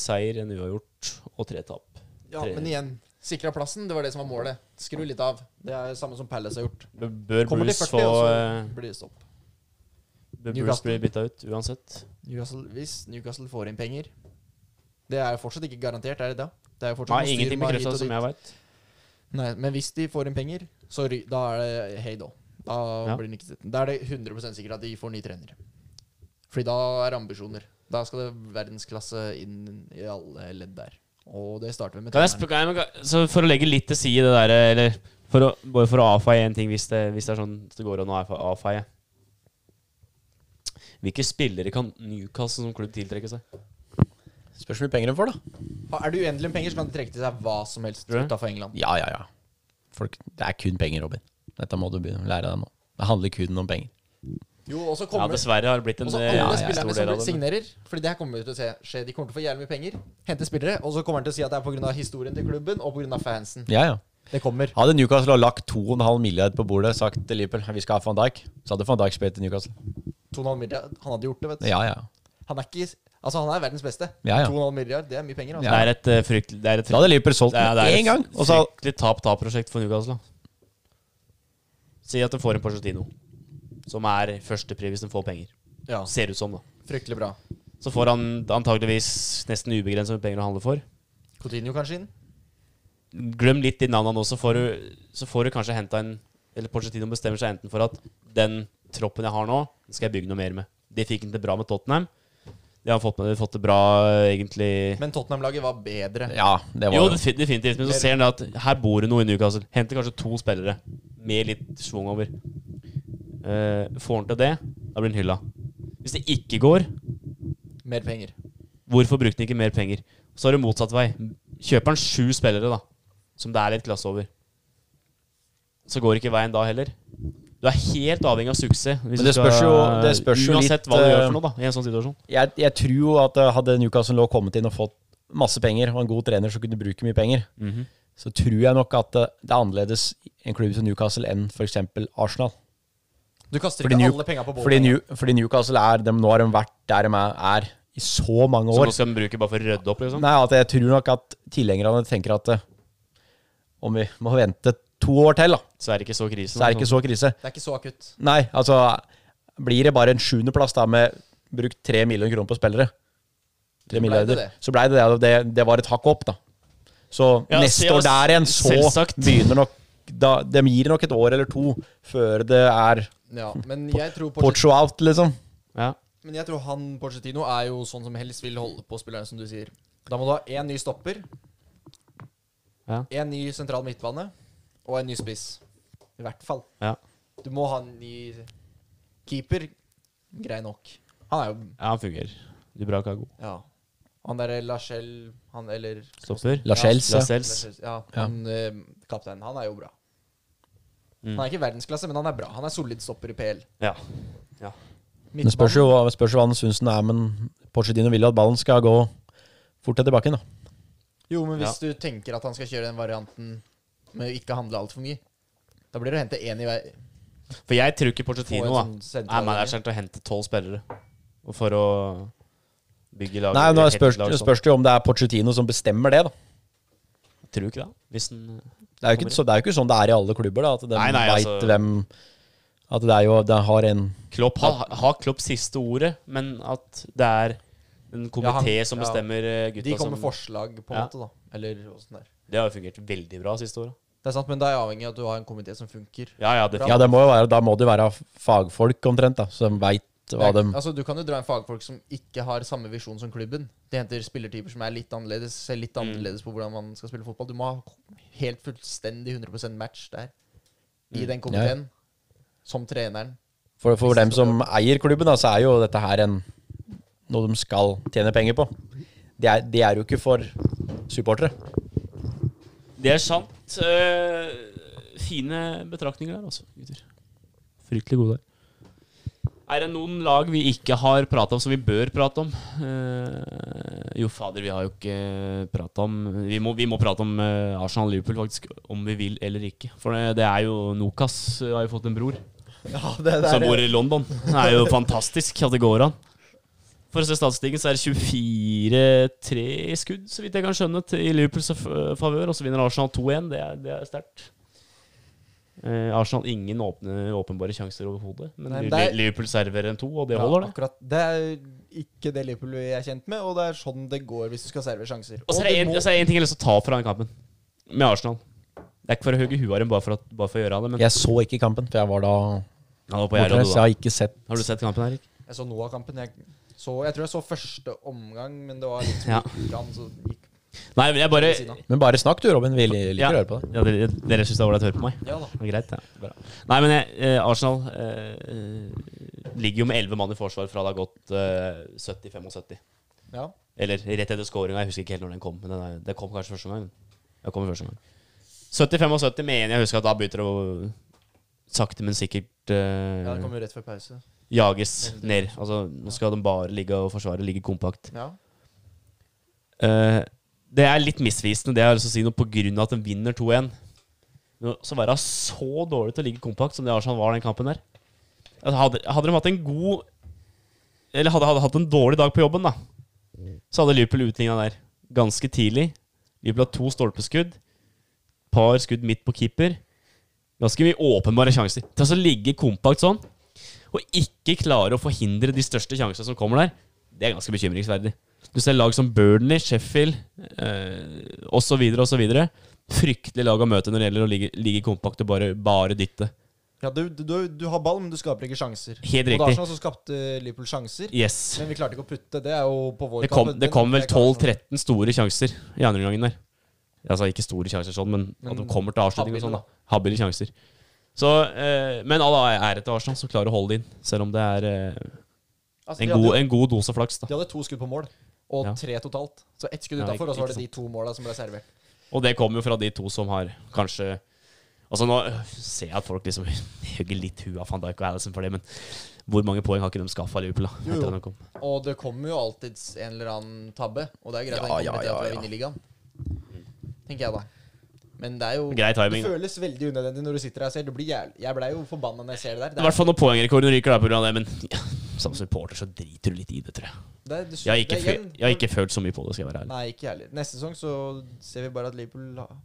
S2: seier, en uavgjort og tre tap.
S3: Ja, men igjen. Sikra plassen, det var det som var målet. Skru litt av. Det er det samme som Palace har gjort.
S2: B- Bør
S3: Kommer til
S2: Bruce
S3: 40,
S2: få
S3: og
S2: eh,
S3: så blir det stopp.
S2: Bør Bruce
S3: Newcastle.
S2: bli bytta ut uansett?
S3: Newcastle, hvis Newcastle får inn penger Det er fortsatt ikke garantert, er det det? Det er jo
S2: Nei,
S3: fortsatt noe styr
S2: ingenting
S3: med hit
S2: bekrefta,
S3: og
S2: som
S3: dit.
S2: jeg veit.
S3: Nei, men hvis de får inn penger, så ry da er det hei da. Da
S2: Ja.
S3: blir den ikke sittende. Da er det 100 sikkert at de får ny trener. Fordi da er det ambisjoner. Da skal det verdensklasse inn i alle ledd der. Og det starter vi med
S2: Kan jeg spør, kan jeg, så for å legge litt til side det der, eller for å, bare for å avfeie en ting, hvis det, hvis det er sånn det går an å avfe- avfeie Hvilke spillere kan Newcastle som klubb tiltrekke seg?
S4: Spørs hvor mye penger de får, da.
S3: Ah, Er det uendelig med penger, så kan de trekke til seg hva som helst
S2: Tror du?
S3: utafor England.
S4: Ja, ja, ja. Folk, det er kun penger, Robin. Dette må du begynne å lære deg nå. Det handler kun om penger.
S3: Jo, og så
S2: Ja,
S3: kommer
S2: dessverre har det blitt en
S3: Og så
S2: eh,
S3: alle
S2: ja, ja, stor
S3: spillerne som
S2: del av det.
S3: signerer. Fordi det her kommer vi til å se skje. De kommer til å få jævlig mye penger, hente spillere, og så kommer han til å si at det er pga. historien til klubben og pga. fansen.
S4: Ja, ja.
S3: Det kommer.
S4: Hadde Newcastle lagt 2,5 milliard på bordet sagt til Liverpool vi skal ha van Dijk, så hadde van Dijk spilt til Newcastle.
S3: 2,5 milliard. Han hadde gjort det, vet du.
S4: Ja, ja.
S3: Han er ikke Altså, han er verdens beste.
S4: Ja, ja.
S3: 2,5 milliard, det er mye penger. Altså.
S2: Det er et eh, fryktelig Det er et
S4: Da hadde Liverpool solgt
S2: det er- det er
S4: den
S2: et
S4: én gang. Og så
S2: fryktelig tap-tap-prosjekt for Newcastle. da. Si at de får en Porcetino, som er førstepriv hvis de får penger.
S3: Ja.
S2: Ser ut som, da.
S3: Fryktelig bra.
S2: Så får han antageligvis nesten ubegrenset med penger å handle for.
S3: Coutinho kanskje inn?
S2: Glem litt de navnene nå, så får du, så får du kanskje henta en Eller Porcetino bestemmer seg enten for at den troppen jeg har nå, den skal jeg bygge noe mer med. Det fikk han til bra med Tottenham. Det har han fått med det, fått det bra, eh, egentlig.
S3: Men Tottenham-laget var bedre.
S4: Ja, det
S2: Jo,
S4: var
S2: defin- definitivt. Men så ser han det at her bor det noe i Newcastle. Henter kanskje to spillere med litt schwung over. Eh, får han til det, da blir han hylla. Hvis det ikke går,
S3: Mer penger.
S2: hvorfor brukte han ikke mer penger? Så er det motsatt vei. Kjøper han sju spillere, da, som det er litt klasse over, så går ikke veien da heller. Du er helt avhengig av suksess. hvis
S4: Men
S2: du
S4: det
S2: skal-
S4: spørs jo- det spørs jo
S2: Uansett
S4: litt,
S2: hva du gjør
S4: eh,
S2: for noe, da, i en sånn situasjon.
S4: jeg, jeg tror jo at eh, hadde Newcastle nå kommet inn og fått masse penger, og en god trener som kunne bruke mye penger,
S2: Mhm.
S4: så tror jeg nok at eh, det er annerledes i en klubb som Newcastle enn f.eks. Arsenal.
S3: Du kaster
S4: Fordi
S3: ikke
S4: New-
S3: alle penga på
S4: Fordi,
S3: bollen.
S4: New, fordi Newcastle er dem, Nå har de vært der de er, er i så mange
S2: Så
S4: år.
S2: nå skal de bruke bare for å rydde opp, liksom?
S4: Nei, at jeg tror nok at tilhengerne tenker at eh, om vi må vente to år til, da,
S2: Så er det ikke så krise. liksom.
S4: så er det ikke så krise.
S3: Det er ikke så akutt.
S4: Nei, altså Blir det bare en sjuendeplass da med brukt tre millioner kroner på spillere,
S3: ble
S4: tre
S3: det
S4: milliarder,
S3: det.
S4: så blei det det. og Det, det var et hakk opp, da. Så
S2: Ja,
S4: neste
S2: se-
S4: år der igjen, så
S2: selvsagt.
S4: begynner nok da, De gir nok et år eller to før det er
S3: Ja, men jeg tror Pochettino
S4: Pocho out, liksom.
S2: Ja.
S3: Men jeg tror han Porcetino er jo sånn som helst vil holde på spillerne, som du sier. Da må du ha én ny stopper,
S2: Ja.
S3: én ny sentral midtbane og en ny spiss. I hvert fall.
S2: Ja.
S3: Du må ha en ny keeper. Grei nok. Han er jo
S2: Ja, han fungerer. Dubravka er god.
S3: Ja. Han derre Lachelle Han eller
S2: Stopper.
S4: Lachels, ja.
S2: Lascelles.
S3: Lachelles, Ja, han eh, kapteinen. Han er jo bra.
S2: Mm.
S3: Han er ikke verdensklasse, men han er bra. Han er solid stopper i PL.
S2: Ja.
S4: Det spørs jo, det spørs jo hva han syns den er, men Porcedino vil jo at ballen skal gå fort etter bakken. da
S3: Jo, men hvis du tenker at han skal kjøre den varianten med å ikke handle altfor mye, da blir det å hente én i hver.
S2: For jeg tror ikke
S3: få en
S2: Porcetino da
S3: sånn sentral-
S2: er manageren til å hente tolv spillere Og for å bygge laget.
S4: Nei, men da
S2: et
S4: spørs,
S2: lag sånn.
S4: spørs det jo om det er Porcetino som bestemmer det, da.
S2: Tror du ikke det? Hvis den
S4: Det er jo ikke, så, det er jo ikke sånn det er i alle klubber, da. At de
S2: Nei, nei,
S4: vet
S2: altså-
S4: hvem At det er jo Det har en
S2: Klopp har har Klopp siste ordet, men at det er en komité
S3: Ja, han-
S2: som
S3: ja.
S2: bestemmer eh, gutta
S3: De kommer med
S2: som
S3: forslag, på en
S2: Ja.
S3: måte, da. Eller åssen det er.
S2: Det har jo fungert veldig bra siste året.
S3: Det er sant, men det er avhengig av at du har en komité som funker.
S2: Ja, ja, det
S4: Ja, det må jo være, da må det jo være fagfolk, omtrent, da, som veit hva de
S3: Altså, du kan jo dra inn fagfolk som ikke har samme visjon som klubben. De henter spillertyper som er litt annerledes, ser litt
S2: Mm.
S3: annerledes på hvordan man skal spille fotball. Du må ha helt fullstendig 100 match der,
S2: Mm.
S3: i den komiteen, som treneren.
S4: For, for dem som eier klubben, da, så er jo dette her en, noe de skal tjene penger på. Det er, det er jo ikke for supportere.
S2: Det er sant. Eh, fine betraktninger der, altså, gutter. Fryktelig gode der. Er det noen lag vi ikke har prata om, som vi bør prate om? Eh, jo, fader, vi har jo ikke prata om Vi må, vi må prate om eh, Arsenal-Liverpool, faktisk. Om vi vil eller ikke. For det, det er jo Nokas eh, har jo fått en bror
S3: Ja, det
S2: som bor i London. Det er jo fantastisk at det går an. For å se statistikken, så er det 24-3 i skudd, så vidt jeg kan skjønne, til- i Liverpools f- favør. Og så vinner Arsenal 2-1. Det er, det er sterkt. Eh, Arsenal ingen åpne, åpenbare sjanser overhodet, men
S3: Nei, men
S2: Liv-
S3: det er-
S2: Liverpool server en to, og det holder, det.
S3: Akkurat, det er ikke det Liverpool vi er kjent med, og det er sånn det går hvis du skal serve sjanser.
S2: Og så er det
S3: du
S2: en,
S3: må-
S2: og så er det en ting jeg har lyst til å ta fra den kampen, med Arsenal. Det er ikke for å hugge huet av dem bare, for at- bare for å gjøre det, men
S4: Jeg så ikke kampen, for jeg var da
S2: Han var på gjerdet, du,
S4: bortreist. så
S2: da.
S4: Jeg har ikke sett
S2: Har du sett kampen, Erik?
S3: Jeg så noe av kampen. Jeg, så, jeg tror jeg så første omgang, men det var litt
S2: Ja.
S3: sånn så gikk
S2: Nei, men jeg bare
S3: ved siden av.
S4: Men bare snakk du, Robin. Vi li- liker
S2: Ja.
S4: å høre på det.
S2: Ja, dere, dere syns det var ålreit å høre på meg?
S3: Ja da.
S2: Det er Greit, ja. Bra. Nei, men jeg, eh, Arsenal eh, eh, ligger jo med 11 mann i forsvar fra det har gått eh, 70-75.
S3: Ja.
S2: Eller rett etter scoringa. Jeg husker ikke helt når den kom. Men den, er, den kom kanskje første gang. Den kom i første gang. 70-75 med en jeg husker at da begynner det å sakte, men sikkert eh,
S3: ja, det kom jo rett før pause.
S2: jages ned. Altså, nå skal de bare ligge og forsvare, ligge kompakt.
S3: Ja.
S2: Eh, det er litt misvisende, det jeg har lyst til å si noe på grunn av at de vinner 2-1. Nå- Så være så dårlig til å ligge kompakt som det Arsenal var den kampen der. Altså, hadde, hadde de hatt en god Eller hadde, hadde hatt en dårlig dag på jobben, da, så hadde Liverpool utligna der ganske tidlig. Liverpool har to stolpeskudd, par skudd midt på keeper. Ganske mye åpenbare sjanser. Til å så ligge kompakt sånn, og ikke klare å forhindre de største sjansene som kommer der, det er ganske bekymringsverdig. Du ser lag som Burnley, Sheffield eh, osv. osv. Fryktelig lag å møte når det gjelder å ligge, ligge kompakt og bare, bare dytte.
S3: ja du, du, du har ball, men du skaper ikke sjanser.
S2: Helt
S3: Og det
S2: riktig.
S3: er sånn som skapte Liverpool sjanser,
S2: Yes.
S3: men vi klarte ikke å putte. Det er jo på vår
S2: Det kom,
S3: kamp,
S2: det
S3: men-
S2: kom vel
S3: det kan- sånn.
S2: 12-13 store sjanser i andre omgangen der. Altså ikke store sjanser sånn, men at de
S3: Men
S2: kommer til avslutning og sånn.
S3: habile,
S2: da Habile sjanser. Så, eh, men all ære til Arsenal, som klarer å holde det inn. Selv om det er eh,
S3: Altså,
S2: en,
S3: de hadde
S2: god,
S3: jo-
S2: en god dose flaks. da
S3: De hadde to skudd på mål, og
S2: Ja.
S3: tre totalt. Så ett skudd
S2: Ja,
S3: utafor, og så var
S2: ikke
S3: det de to måla som ble servert.
S2: Og det kommer jo fra de to som har kanskje Altså Nå øh, ser jeg at folk liksom hugger litt huet av van Dijk og Alison for det, men hvor mange poeng har ikke de skaffa Liverpool? da?
S3: Jo,
S2: etter
S3: jo.
S2: at de kom?
S3: Og det kommer jo alltids en eller annen tabbe, og det er greit
S4: Ja,
S3: at den
S4: ja,
S3: kommer til
S4: ja,
S3: at vi
S4: ja.
S3: vinner ligaen. Tenker jeg, da. Men det er jo
S2: Grei timing,
S3: Det
S2: da.
S3: føles veldig unødvendig når du sitter her og ser. Du blir jævlig, jeg blei jo forbanna når jeg ser det der.
S2: I hvert fall når poengrekorden ryker der pga. det, men ja, som supporter så driter du litt i det, tror jeg.
S3: det er- det-
S2: Jeg har ikke,
S3: det er
S2: føl-
S3: igjen-
S2: jeg har ikke følt så mye på det, skal jeg være ærlig.
S3: Nei, ikke jeg heller. Neste sesong så ser vi bare at Liverpool la-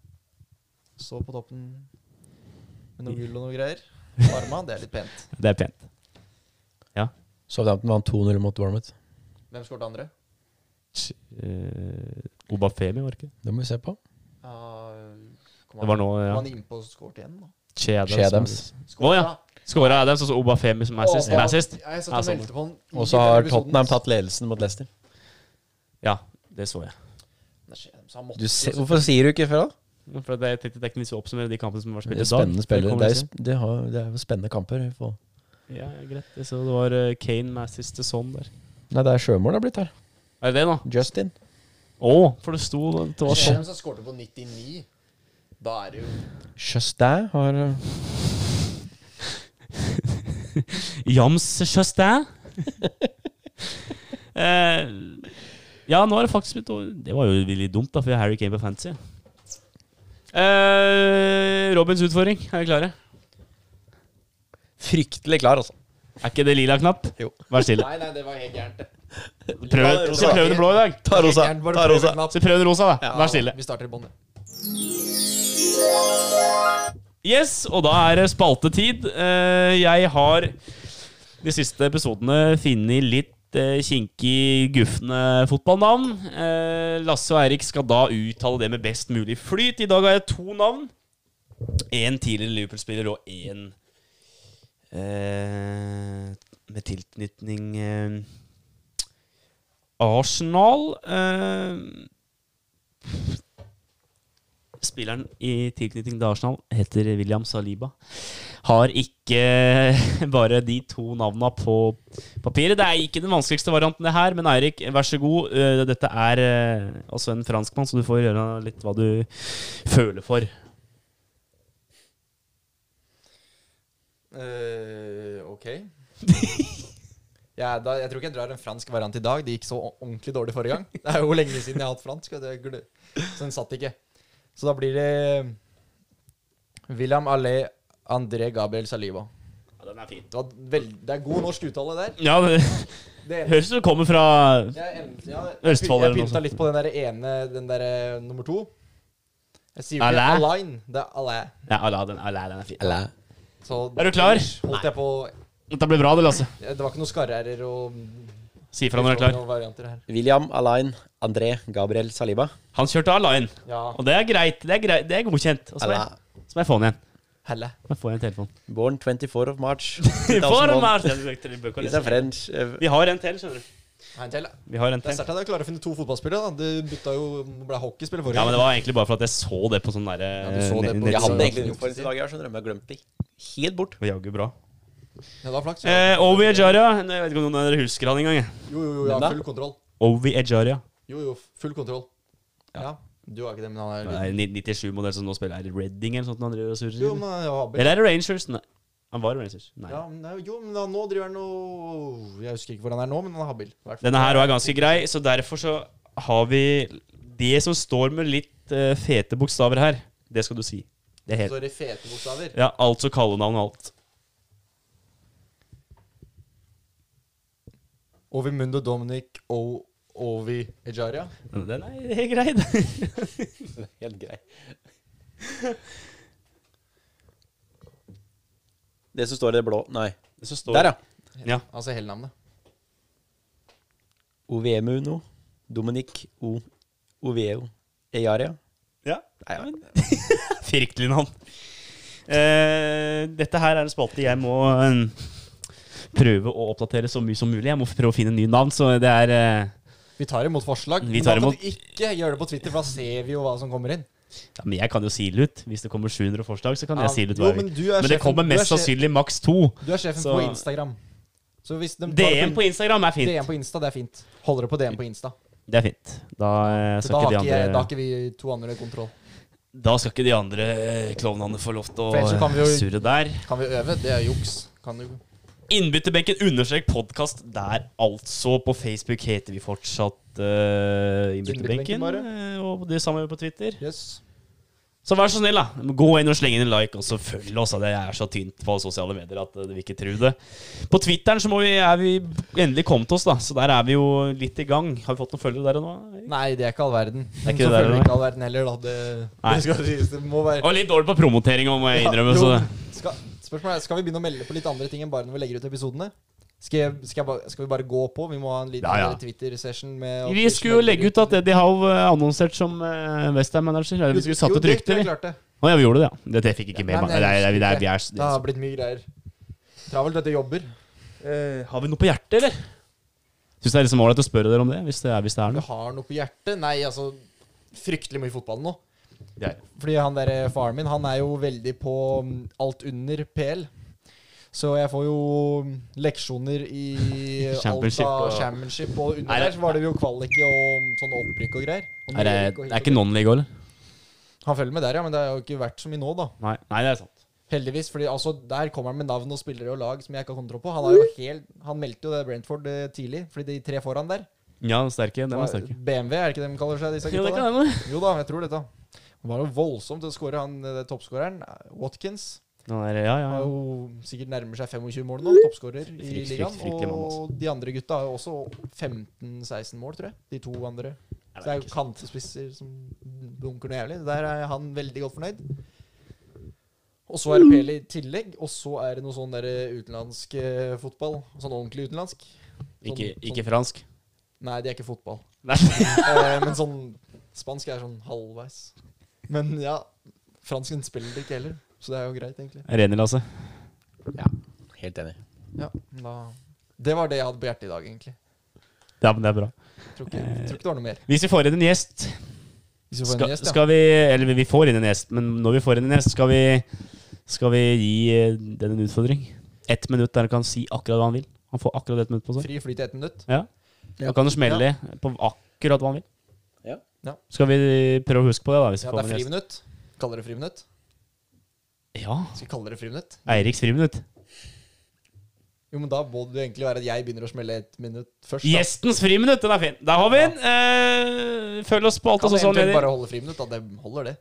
S3: står på toppen med noe gull og noe greier. Parma, det er litt pent.
S2: Det er pent.
S4: Southampton vant 2-0 mot Dormit.
S3: Hvem skåret andre?
S2: Uh, Obafemi, var det ikke?
S4: Det må vi se på.
S3: Ja, kom
S2: Det var nå,
S3: Kom
S2: ja.
S3: han innpå og skåret igjen, da?
S2: Che Adams.
S4: Che Adams.
S2: Å ja. Skåra Adams, og så Obafemi som er sist.
S3: Og- og-
S2: Er sist.
S3: Jeg satt
S2: Ja,
S3: og
S2: sånn.
S3: meldte på han. i
S4: Og så har
S3: denne episoden.
S4: Tottenham tatt ledelsen mot Leicester.
S2: Ja, det så jeg.
S3: Nei, shit, så han måtte
S4: Du
S3: jo
S4: se,
S3: så-
S4: hvorfor sier du ikke fra?
S2: For det, jeg tenkte jeg kunne oppsummere de kampene som var
S4: Det
S2: spilt i
S4: er
S2: dag.
S4: spennende spillere.
S2: kommer
S4: Det
S2: vi
S4: er,
S2: til.
S4: det har- det er jo spennende kamper. vi får-
S2: Ja, greit. Jeg så det var eh, Kane med assist til sånn der.
S4: Nei, det er Sjømål det har blitt her.
S2: Er det det, nå?
S4: Justin.
S2: Å, for det sto det var sånn.
S3: Shanahan som skårte på 99 Da er det jo
S4: Justin har uh,
S2: Jams Chastain. eh, ja, nå er det faktisk blitt over. Det var jo veldig dumt, da, for jeg har Harry Kane på fantasy. Eh, Robins utfordring. Er vi klare?
S4: Fryktelig klar, altså.
S2: Er ikke det lila knapp?
S4: Jo.
S2: Vær stille.
S3: Nei, nei, det var helt gærent. det.
S2: Prøv, skal prøve den blå i dag.
S4: Ta rosa.
S3: Helt gærent, bare
S4: Ta
S3: prøv
S4: rosa.
S3: en lapp.
S2: Skal prøve den rosa, da.
S3: Ja,
S2: Vær stille.
S3: Vi starter i bånn.
S2: Yes, og da er det spaltetid. Eh, Jeg har de siste episodene funnet litt eh, kinkig, gufne fotballnavn. Eh, Lasse og Eirik skal da uttale det med best mulig flyt. I dag har jeg to navn. Én tidligere Liverpool-spiller og én eh, med tilknytning eh, Arsenal. Eh, Spilleren i tilknytning til Arsenal heter William Saliba. Har ikke bare de to navna på papiret. Det er ikke den vanskeligste varianten, det her, men Eirik, vær så god. Eh, Dette er eh, altså en franskmann, så du får gjøre litt hva du føler for.
S3: Eh, ok. ja, da, jeg tror ikke jeg drar en fransk variant i dag. Det gikk så o- ordentlig dårlig forrige gang. Det er jo lenge siden jeg har hatt fransk. og det gle- Så den satt ikke. Så da blir det eh, William Allé André Gabriel Saliba.
S2: Ja, den er fin.
S3: Det, var veld, det er god norsk uttale der.
S2: Ja, det
S3: Det ene-
S2: høres ut som det kommer fra
S3: jeg, em- ja, jeg,
S2: Østfold
S3: py- jeg
S2: eller noe
S3: pynta
S2: sånt.
S3: litt på den der ene, den der eh, nummer to. Jeg sier jo
S2: Allé?
S3: ikke Align, det er Allé.
S2: Nei, Allah, den, Allah, den er fin.
S4: Eller
S3: Så
S2: Er du klar?
S3: holdt jeg på
S2: Dette blir bra, det, Lasse.
S3: Det var ikke noen skarrer og
S2: Si ifra når du er klar.
S3: og varianter her.
S4: William Alain André Gabriel Saliba.
S2: Han kjørte A-line,
S3: Ja.
S2: og det er greit. Det er, greit, det er godkjent. Og så må jeg-
S4: Eller
S2: så må jeg få den igjen.
S3: Helle.
S2: Så må jeg få igjen telefonen.
S4: Born 24 of March.
S2: Vi får en
S4: 2001.
S2: mer. Ja, du- du bør ikke
S4: He's a
S2: lese.
S4: French uh,
S2: Vi har en til, skjønner du.
S3: Ha en til.
S2: Vi har en
S3: Det er
S2: til.
S3: sterkt at jeg klarer å finne to fotballspillere. da. Du bytta jo det ble hockeyspiller forrige
S2: Ja, men Det var egentlig bare for at jeg så det på sånn derre
S3: du så det på-
S4: eh,
S3: det.
S4: Jeg hadde
S2: nettside.
S4: egentlig uniform til i dag, jeg skjønner, men jeg glemte det helt bort.
S2: Det var Jaggu bra.
S3: Ja, det var flaks. Ja.
S2: Eh, Ovi Ejaria. Jeg vet ikke om noen av dere husker han engang. jeg.
S3: Jo, jo, jo, ja,
S4: Hvem da?
S3: full kontroll.
S2: Ovi Ejaria.
S3: Jo, jo, full kontroll. Ja. Du har ikke det, men han er
S2: Det er en 97-modell som nå spiller her i Reading eller sånt. Han driver og
S3: Jo,
S2: surrer.
S3: men jeg var Abel.
S2: Eller er det Rangers? Nei. Han var Rangers. Nei.
S3: Ja, men, det er- jo, men da, nå driver han og Jeg husker ikke hvor han er nå, men han er habil. i hvert fall.
S2: Denne her også er ganske grei, så derfor så har vi det som står med litt eh, fete bokstaver her. Det skal du si. Det er helt
S3: Så er det fete bokstaver.
S2: Ja, altså kallenavn og alt.
S3: Ovi Mundo Dominic og Ovi Ejaria.
S2: Den er helt grei. den.
S4: Helt grei. Det som står i det blå Nei.
S2: Det som står
S4: Der, ja.
S2: ja.
S3: Altså hele navnet.
S4: Ovemuno. Dominic O. Oveo. Ejaria.
S2: Ja.
S4: Nei, ja.
S2: Fryktelig navn. Eh, dette her er en spalte jeg må eh, prøve å oppdatere så mye som mulig. Jeg må prøve å finne nye navn, så det er eh,
S3: Vi tar imot forslag.
S2: Vi
S3: men
S2: tar
S3: da kan
S2: imot-
S3: du ikke gjøre det på Twitter, for da ser vi jo hva som kommer inn.
S2: ja, Men jeg kan jo sile ut. Hvis det kommer 700 forslag, så kan
S3: Ja,
S2: jeg sile ut.
S3: jo,
S2: hva jeg vil.
S3: men du er
S2: men det
S3: sjefen-
S2: kommer
S3: du er
S2: mest
S3: sjef-
S2: sannsynlig maks to.
S3: Du er sjefen
S2: Så-
S3: på Instagram. Så hvis de tar
S2: DM
S3: det
S2: på Instagram er fint.
S3: DM på Insta, det er fint. Holder det på DM på Insta.
S2: Det er fint. Da, eh,
S3: Så
S2: skal
S3: da, har
S2: ikke de
S3: ikke, jeg- da har
S2: andre,
S3: ikke vi to andre kontroll.
S2: da skal ikke de andre eh, klovnene få lov til å
S3: For ellers så kan vi jo-
S2: eh, surre der.
S3: Kan vi øve? Det er juks. Kan du
S2: Innbytterbenken understrek podkast der, altså. På Facebook heter vi fortsatt eh,
S3: Innbytterbenken,
S2: Innbytterbenken. eh,
S3: bare.
S2: og det samme på Twitter.
S3: Yes.
S2: Så vær så snill, da. Gå inn og sleng inn en like, og så følg oss. da. Det er så tynt på sosiale medier at eh, du vil ikke tro det. På Twitteren så må vi, er vi endelig kommet oss, da. Så der er vi jo litt i gang. Har vi fått noen følgere der og nå? Erik?
S3: Nei, det er ikke all verden.
S2: er ikke det
S3: Så
S2: der,
S3: føler vi
S2: nei.
S3: ikke all verden heller, da. Det,
S2: Nei.
S3: det, skal, sies. det må være
S2: Og litt dårlig på promotering, må jeg innrømme.
S3: Ja,
S2: Så
S3: jo,
S2: det.
S3: skal, spørsmålet er, skal vi begynne å melde på litt andre ting enn bare når vi legger ut episodene? Skal, jeg, skal, jeg bare, skal vi bare gå på? Vi må ha en liten
S2: Ja, ja.
S3: Twitter-session med
S2: Vi skulle jo legge ut at Eddie Howe eh, annonsert som Westham-manager. Eller vi skulle satt ut
S3: rykte
S2: rykter.
S3: Jo, det
S2: vi.
S3: klarte jeg.
S2: Å ja, vi gjorde det, ja. Dette fikk ikke med
S3: Nei,
S2: meg. Det er,
S3: men
S2: det er, det er,
S3: jeg-
S2: vi er,
S3: Det har blitt mye greier. Travelt etter jobber.
S2: Eh, har vi noe på hjertet, eller? Syns det er liksom ålreit å spørre dere om det, hvis det er, hvis det er
S3: Du
S2: noe.
S3: har noe på hjertet? Nei, altså Fryktelig mye fotball nå.
S2: Det er.
S3: Fordi han der eh, faren min, han er jo veldig på mm, alt under PL. Så jeg får jo mm, leksjoner i alt
S2: Championship
S3: av
S2: og-
S3: championship. Og
S2: Nei,
S3: under
S2: det-
S3: der så var det jo kvalik og sånn opprykk og greier. Og
S2: Er det,
S3: nedrykk og hit
S2: det er
S3: og
S2: ikke
S3: dit.
S2: non-league òg, eller?
S3: Han følger med der, ja, men det har jo ikke vært så mye nå, da.
S2: Nei. Nei, det er sant.
S3: Heldigvis, fordi altså, der kommer han med navn og spillere og lag som jeg ikke har kontroll på. Han, er jo helt, han meldte jo det Brentford eh, tidlig, fordi de tre foran der
S2: Ja, sterke. Den var sterke.
S3: BMW, er det ikke det de kaller seg, disse
S2: Ja, det
S3: gutta?
S2: kan hende.
S3: Jo da, jeg tror dette. Han var jo voldsom til å skåre, han eh, toppskåreren. Watkins.
S2: Den er- Ja, ja,
S3: Han
S2: ja.
S3: er jo sikkert nærmer seg 25 mål nå, toppskårer i
S2: Frykt-
S3: ligaen.
S2: frykt- fryktelig mann,
S3: Og de andre gutta har jo også 15-16 mål, tror jeg. De to andre. Så det er jo kantespisser som bunker noe jævlig. Der er han veldig godt fornøyd. Og så er det PL i tillegg, og så er det noe sånn der utenlandsk eh, fotball. Sånn ordentlig utenlandsk. Sånn-
S2: Ikke, ikke
S3: sånn,
S2: fransk.
S3: Nei, det er ikke fotball.
S2: Nei.
S3: Eh, men sånn Spansk er sånn halvveis. Men ja, fransken spiller det ikke heller, så det er jo greit, egentlig.
S2: Jeg er enig, Lasse.
S4: Ja, helt enig.
S3: Ja, da Det var det jeg hadde på hjertet i dag, egentlig.
S2: Ja, men det er bra.
S3: Tror ikke, tror ikke det var noe mer.
S2: Hvis vi får inn en gjest,
S3: Hvis vi får
S2: skal,
S3: en gjest, ja.
S2: skal vi Eller vi får inn en gjest, men når vi får inn en gjest, skal vi, skal vi gi eh, den en utfordring. Ett minutt der han kan si akkurat hva han vil. Han får akkurat ett minutt på seg.
S3: Fri flyt i ett minutt.
S2: Ja.
S4: Ja.
S2: Da kan han smelle på akkurat hva han vil.
S4: Ja.
S3: Ja.
S2: Skal vi prøve å huske på det, da? Hvis vi
S3: Ja,
S2: får med
S3: det er
S2: en gjest?
S3: friminutt. Kaller det friminutt?
S2: Ja.
S3: Skal vi kalle det friminutt?
S2: Eiriks friminutt.
S3: Jo, men da må det jo egentlig være at jeg begynner å smelle ett minutt først. da.
S2: Gjestens friminutt, den er fin. Der har vi den. Eh, følg oss på alt
S3: Kan
S2: av
S3: vi
S2: sosiale
S3: eventuelt
S2: medier.
S3: bare holde friminutt? Da. Det holder, det.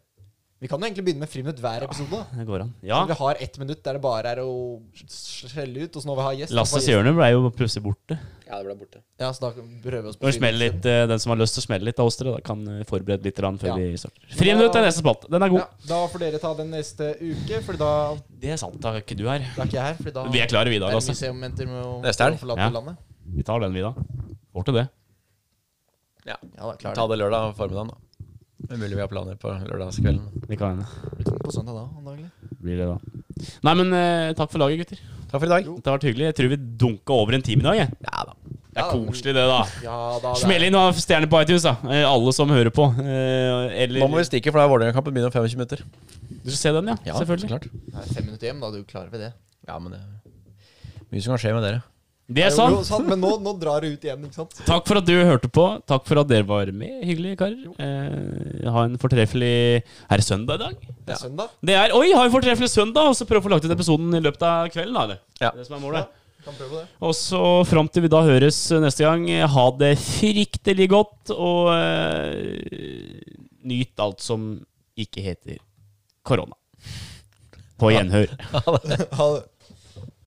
S3: Vi kan jo egentlig begynne med friminutt hver episode. da.
S2: Det går an. Ja.
S3: Vi har ett minutt der det bare er å skjelle ut, og så når vi har gjest så får
S2: Lasses
S3: gjest-
S2: hjørne ble jo plutselig borte.
S4: Ja, det ble borte.
S3: Ja, så da prøver vi oss
S2: Må
S3: på
S2: vi smelle litt, eh, den som har lyst til å smelle litt av oss dere, da, kan eh, forberede litt grann før
S3: Ja.
S2: vi starter. Friminutt er neste spalte. Den er god.
S3: Ja, da får dere ta den neste uke, for da,
S2: Det er sant, da er ikke du her.
S3: da er ikke jeg her. Fordi da
S2: Vi er klare, vi da.
S3: er det
S2: Lasse.
S3: museumenter med å
S4: Neste helg.
S3: å forlate
S2: Ja.
S3: landet.
S2: Vi tar den, vi da. Får til det.
S4: Ja.
S3: Ja, da
S4: Ta
S3: klarer
S4: det lørdag formiddagen, da. Det er mulig vi har planer på lørdagskvelden.
S2: Det kan hende.
S3: det. På søndag da, antagelig.
S2: Blir det, da. Nei, men eh, takk for laget, gutter.
S4: Takk for i dag.
S2: Det har vært hyggelig. Jeg tror vi dunka over en time i dag. Jeg.
S4: Ja da.
S2: Det er
S3: Ja, men-
S2: koselig, det, da.
S3: Ja, da, det er-
S2: Smell inn noen stjerner på iTunes, da. Eh, Alle som hører på. Eh, Eller
S4: Nå må vi stikke, for da er Vålerenga-kampen begynner om 25 minutter.
S2: Du skal se den, ja.
S4: så
S2: Selvfølgelig.
S4: klart.
S3: Det er fem minutter hjem, da. Du klarer vel det.
S4: Ja, men det er mye som kan skje med dere.
S2: Det er sant.
S3: Jo, sant, Men nå, nå drar det ut igjen, ikke sant?
S2: Takk for at du hørte på. Takk for at dere var med. Hyggelig, karer. Eh, ha en fortreffelig Er det søndag i dag?
S3: Det er søndag.
S2: Det er Oi, ha en fortreffelig søndag! Og så prøve å få lagt ut episoden i løpet av kvelden, da. Eller?
S4: Ja.
S2: Det som er målet.
S3: Kan prøve det.
S2: Og så fram til vi da høres neste gang, eh, ha det fryktelig godt, og eh, nyt alt som ikke heter korona. På gjenhør.
S3: Ha det.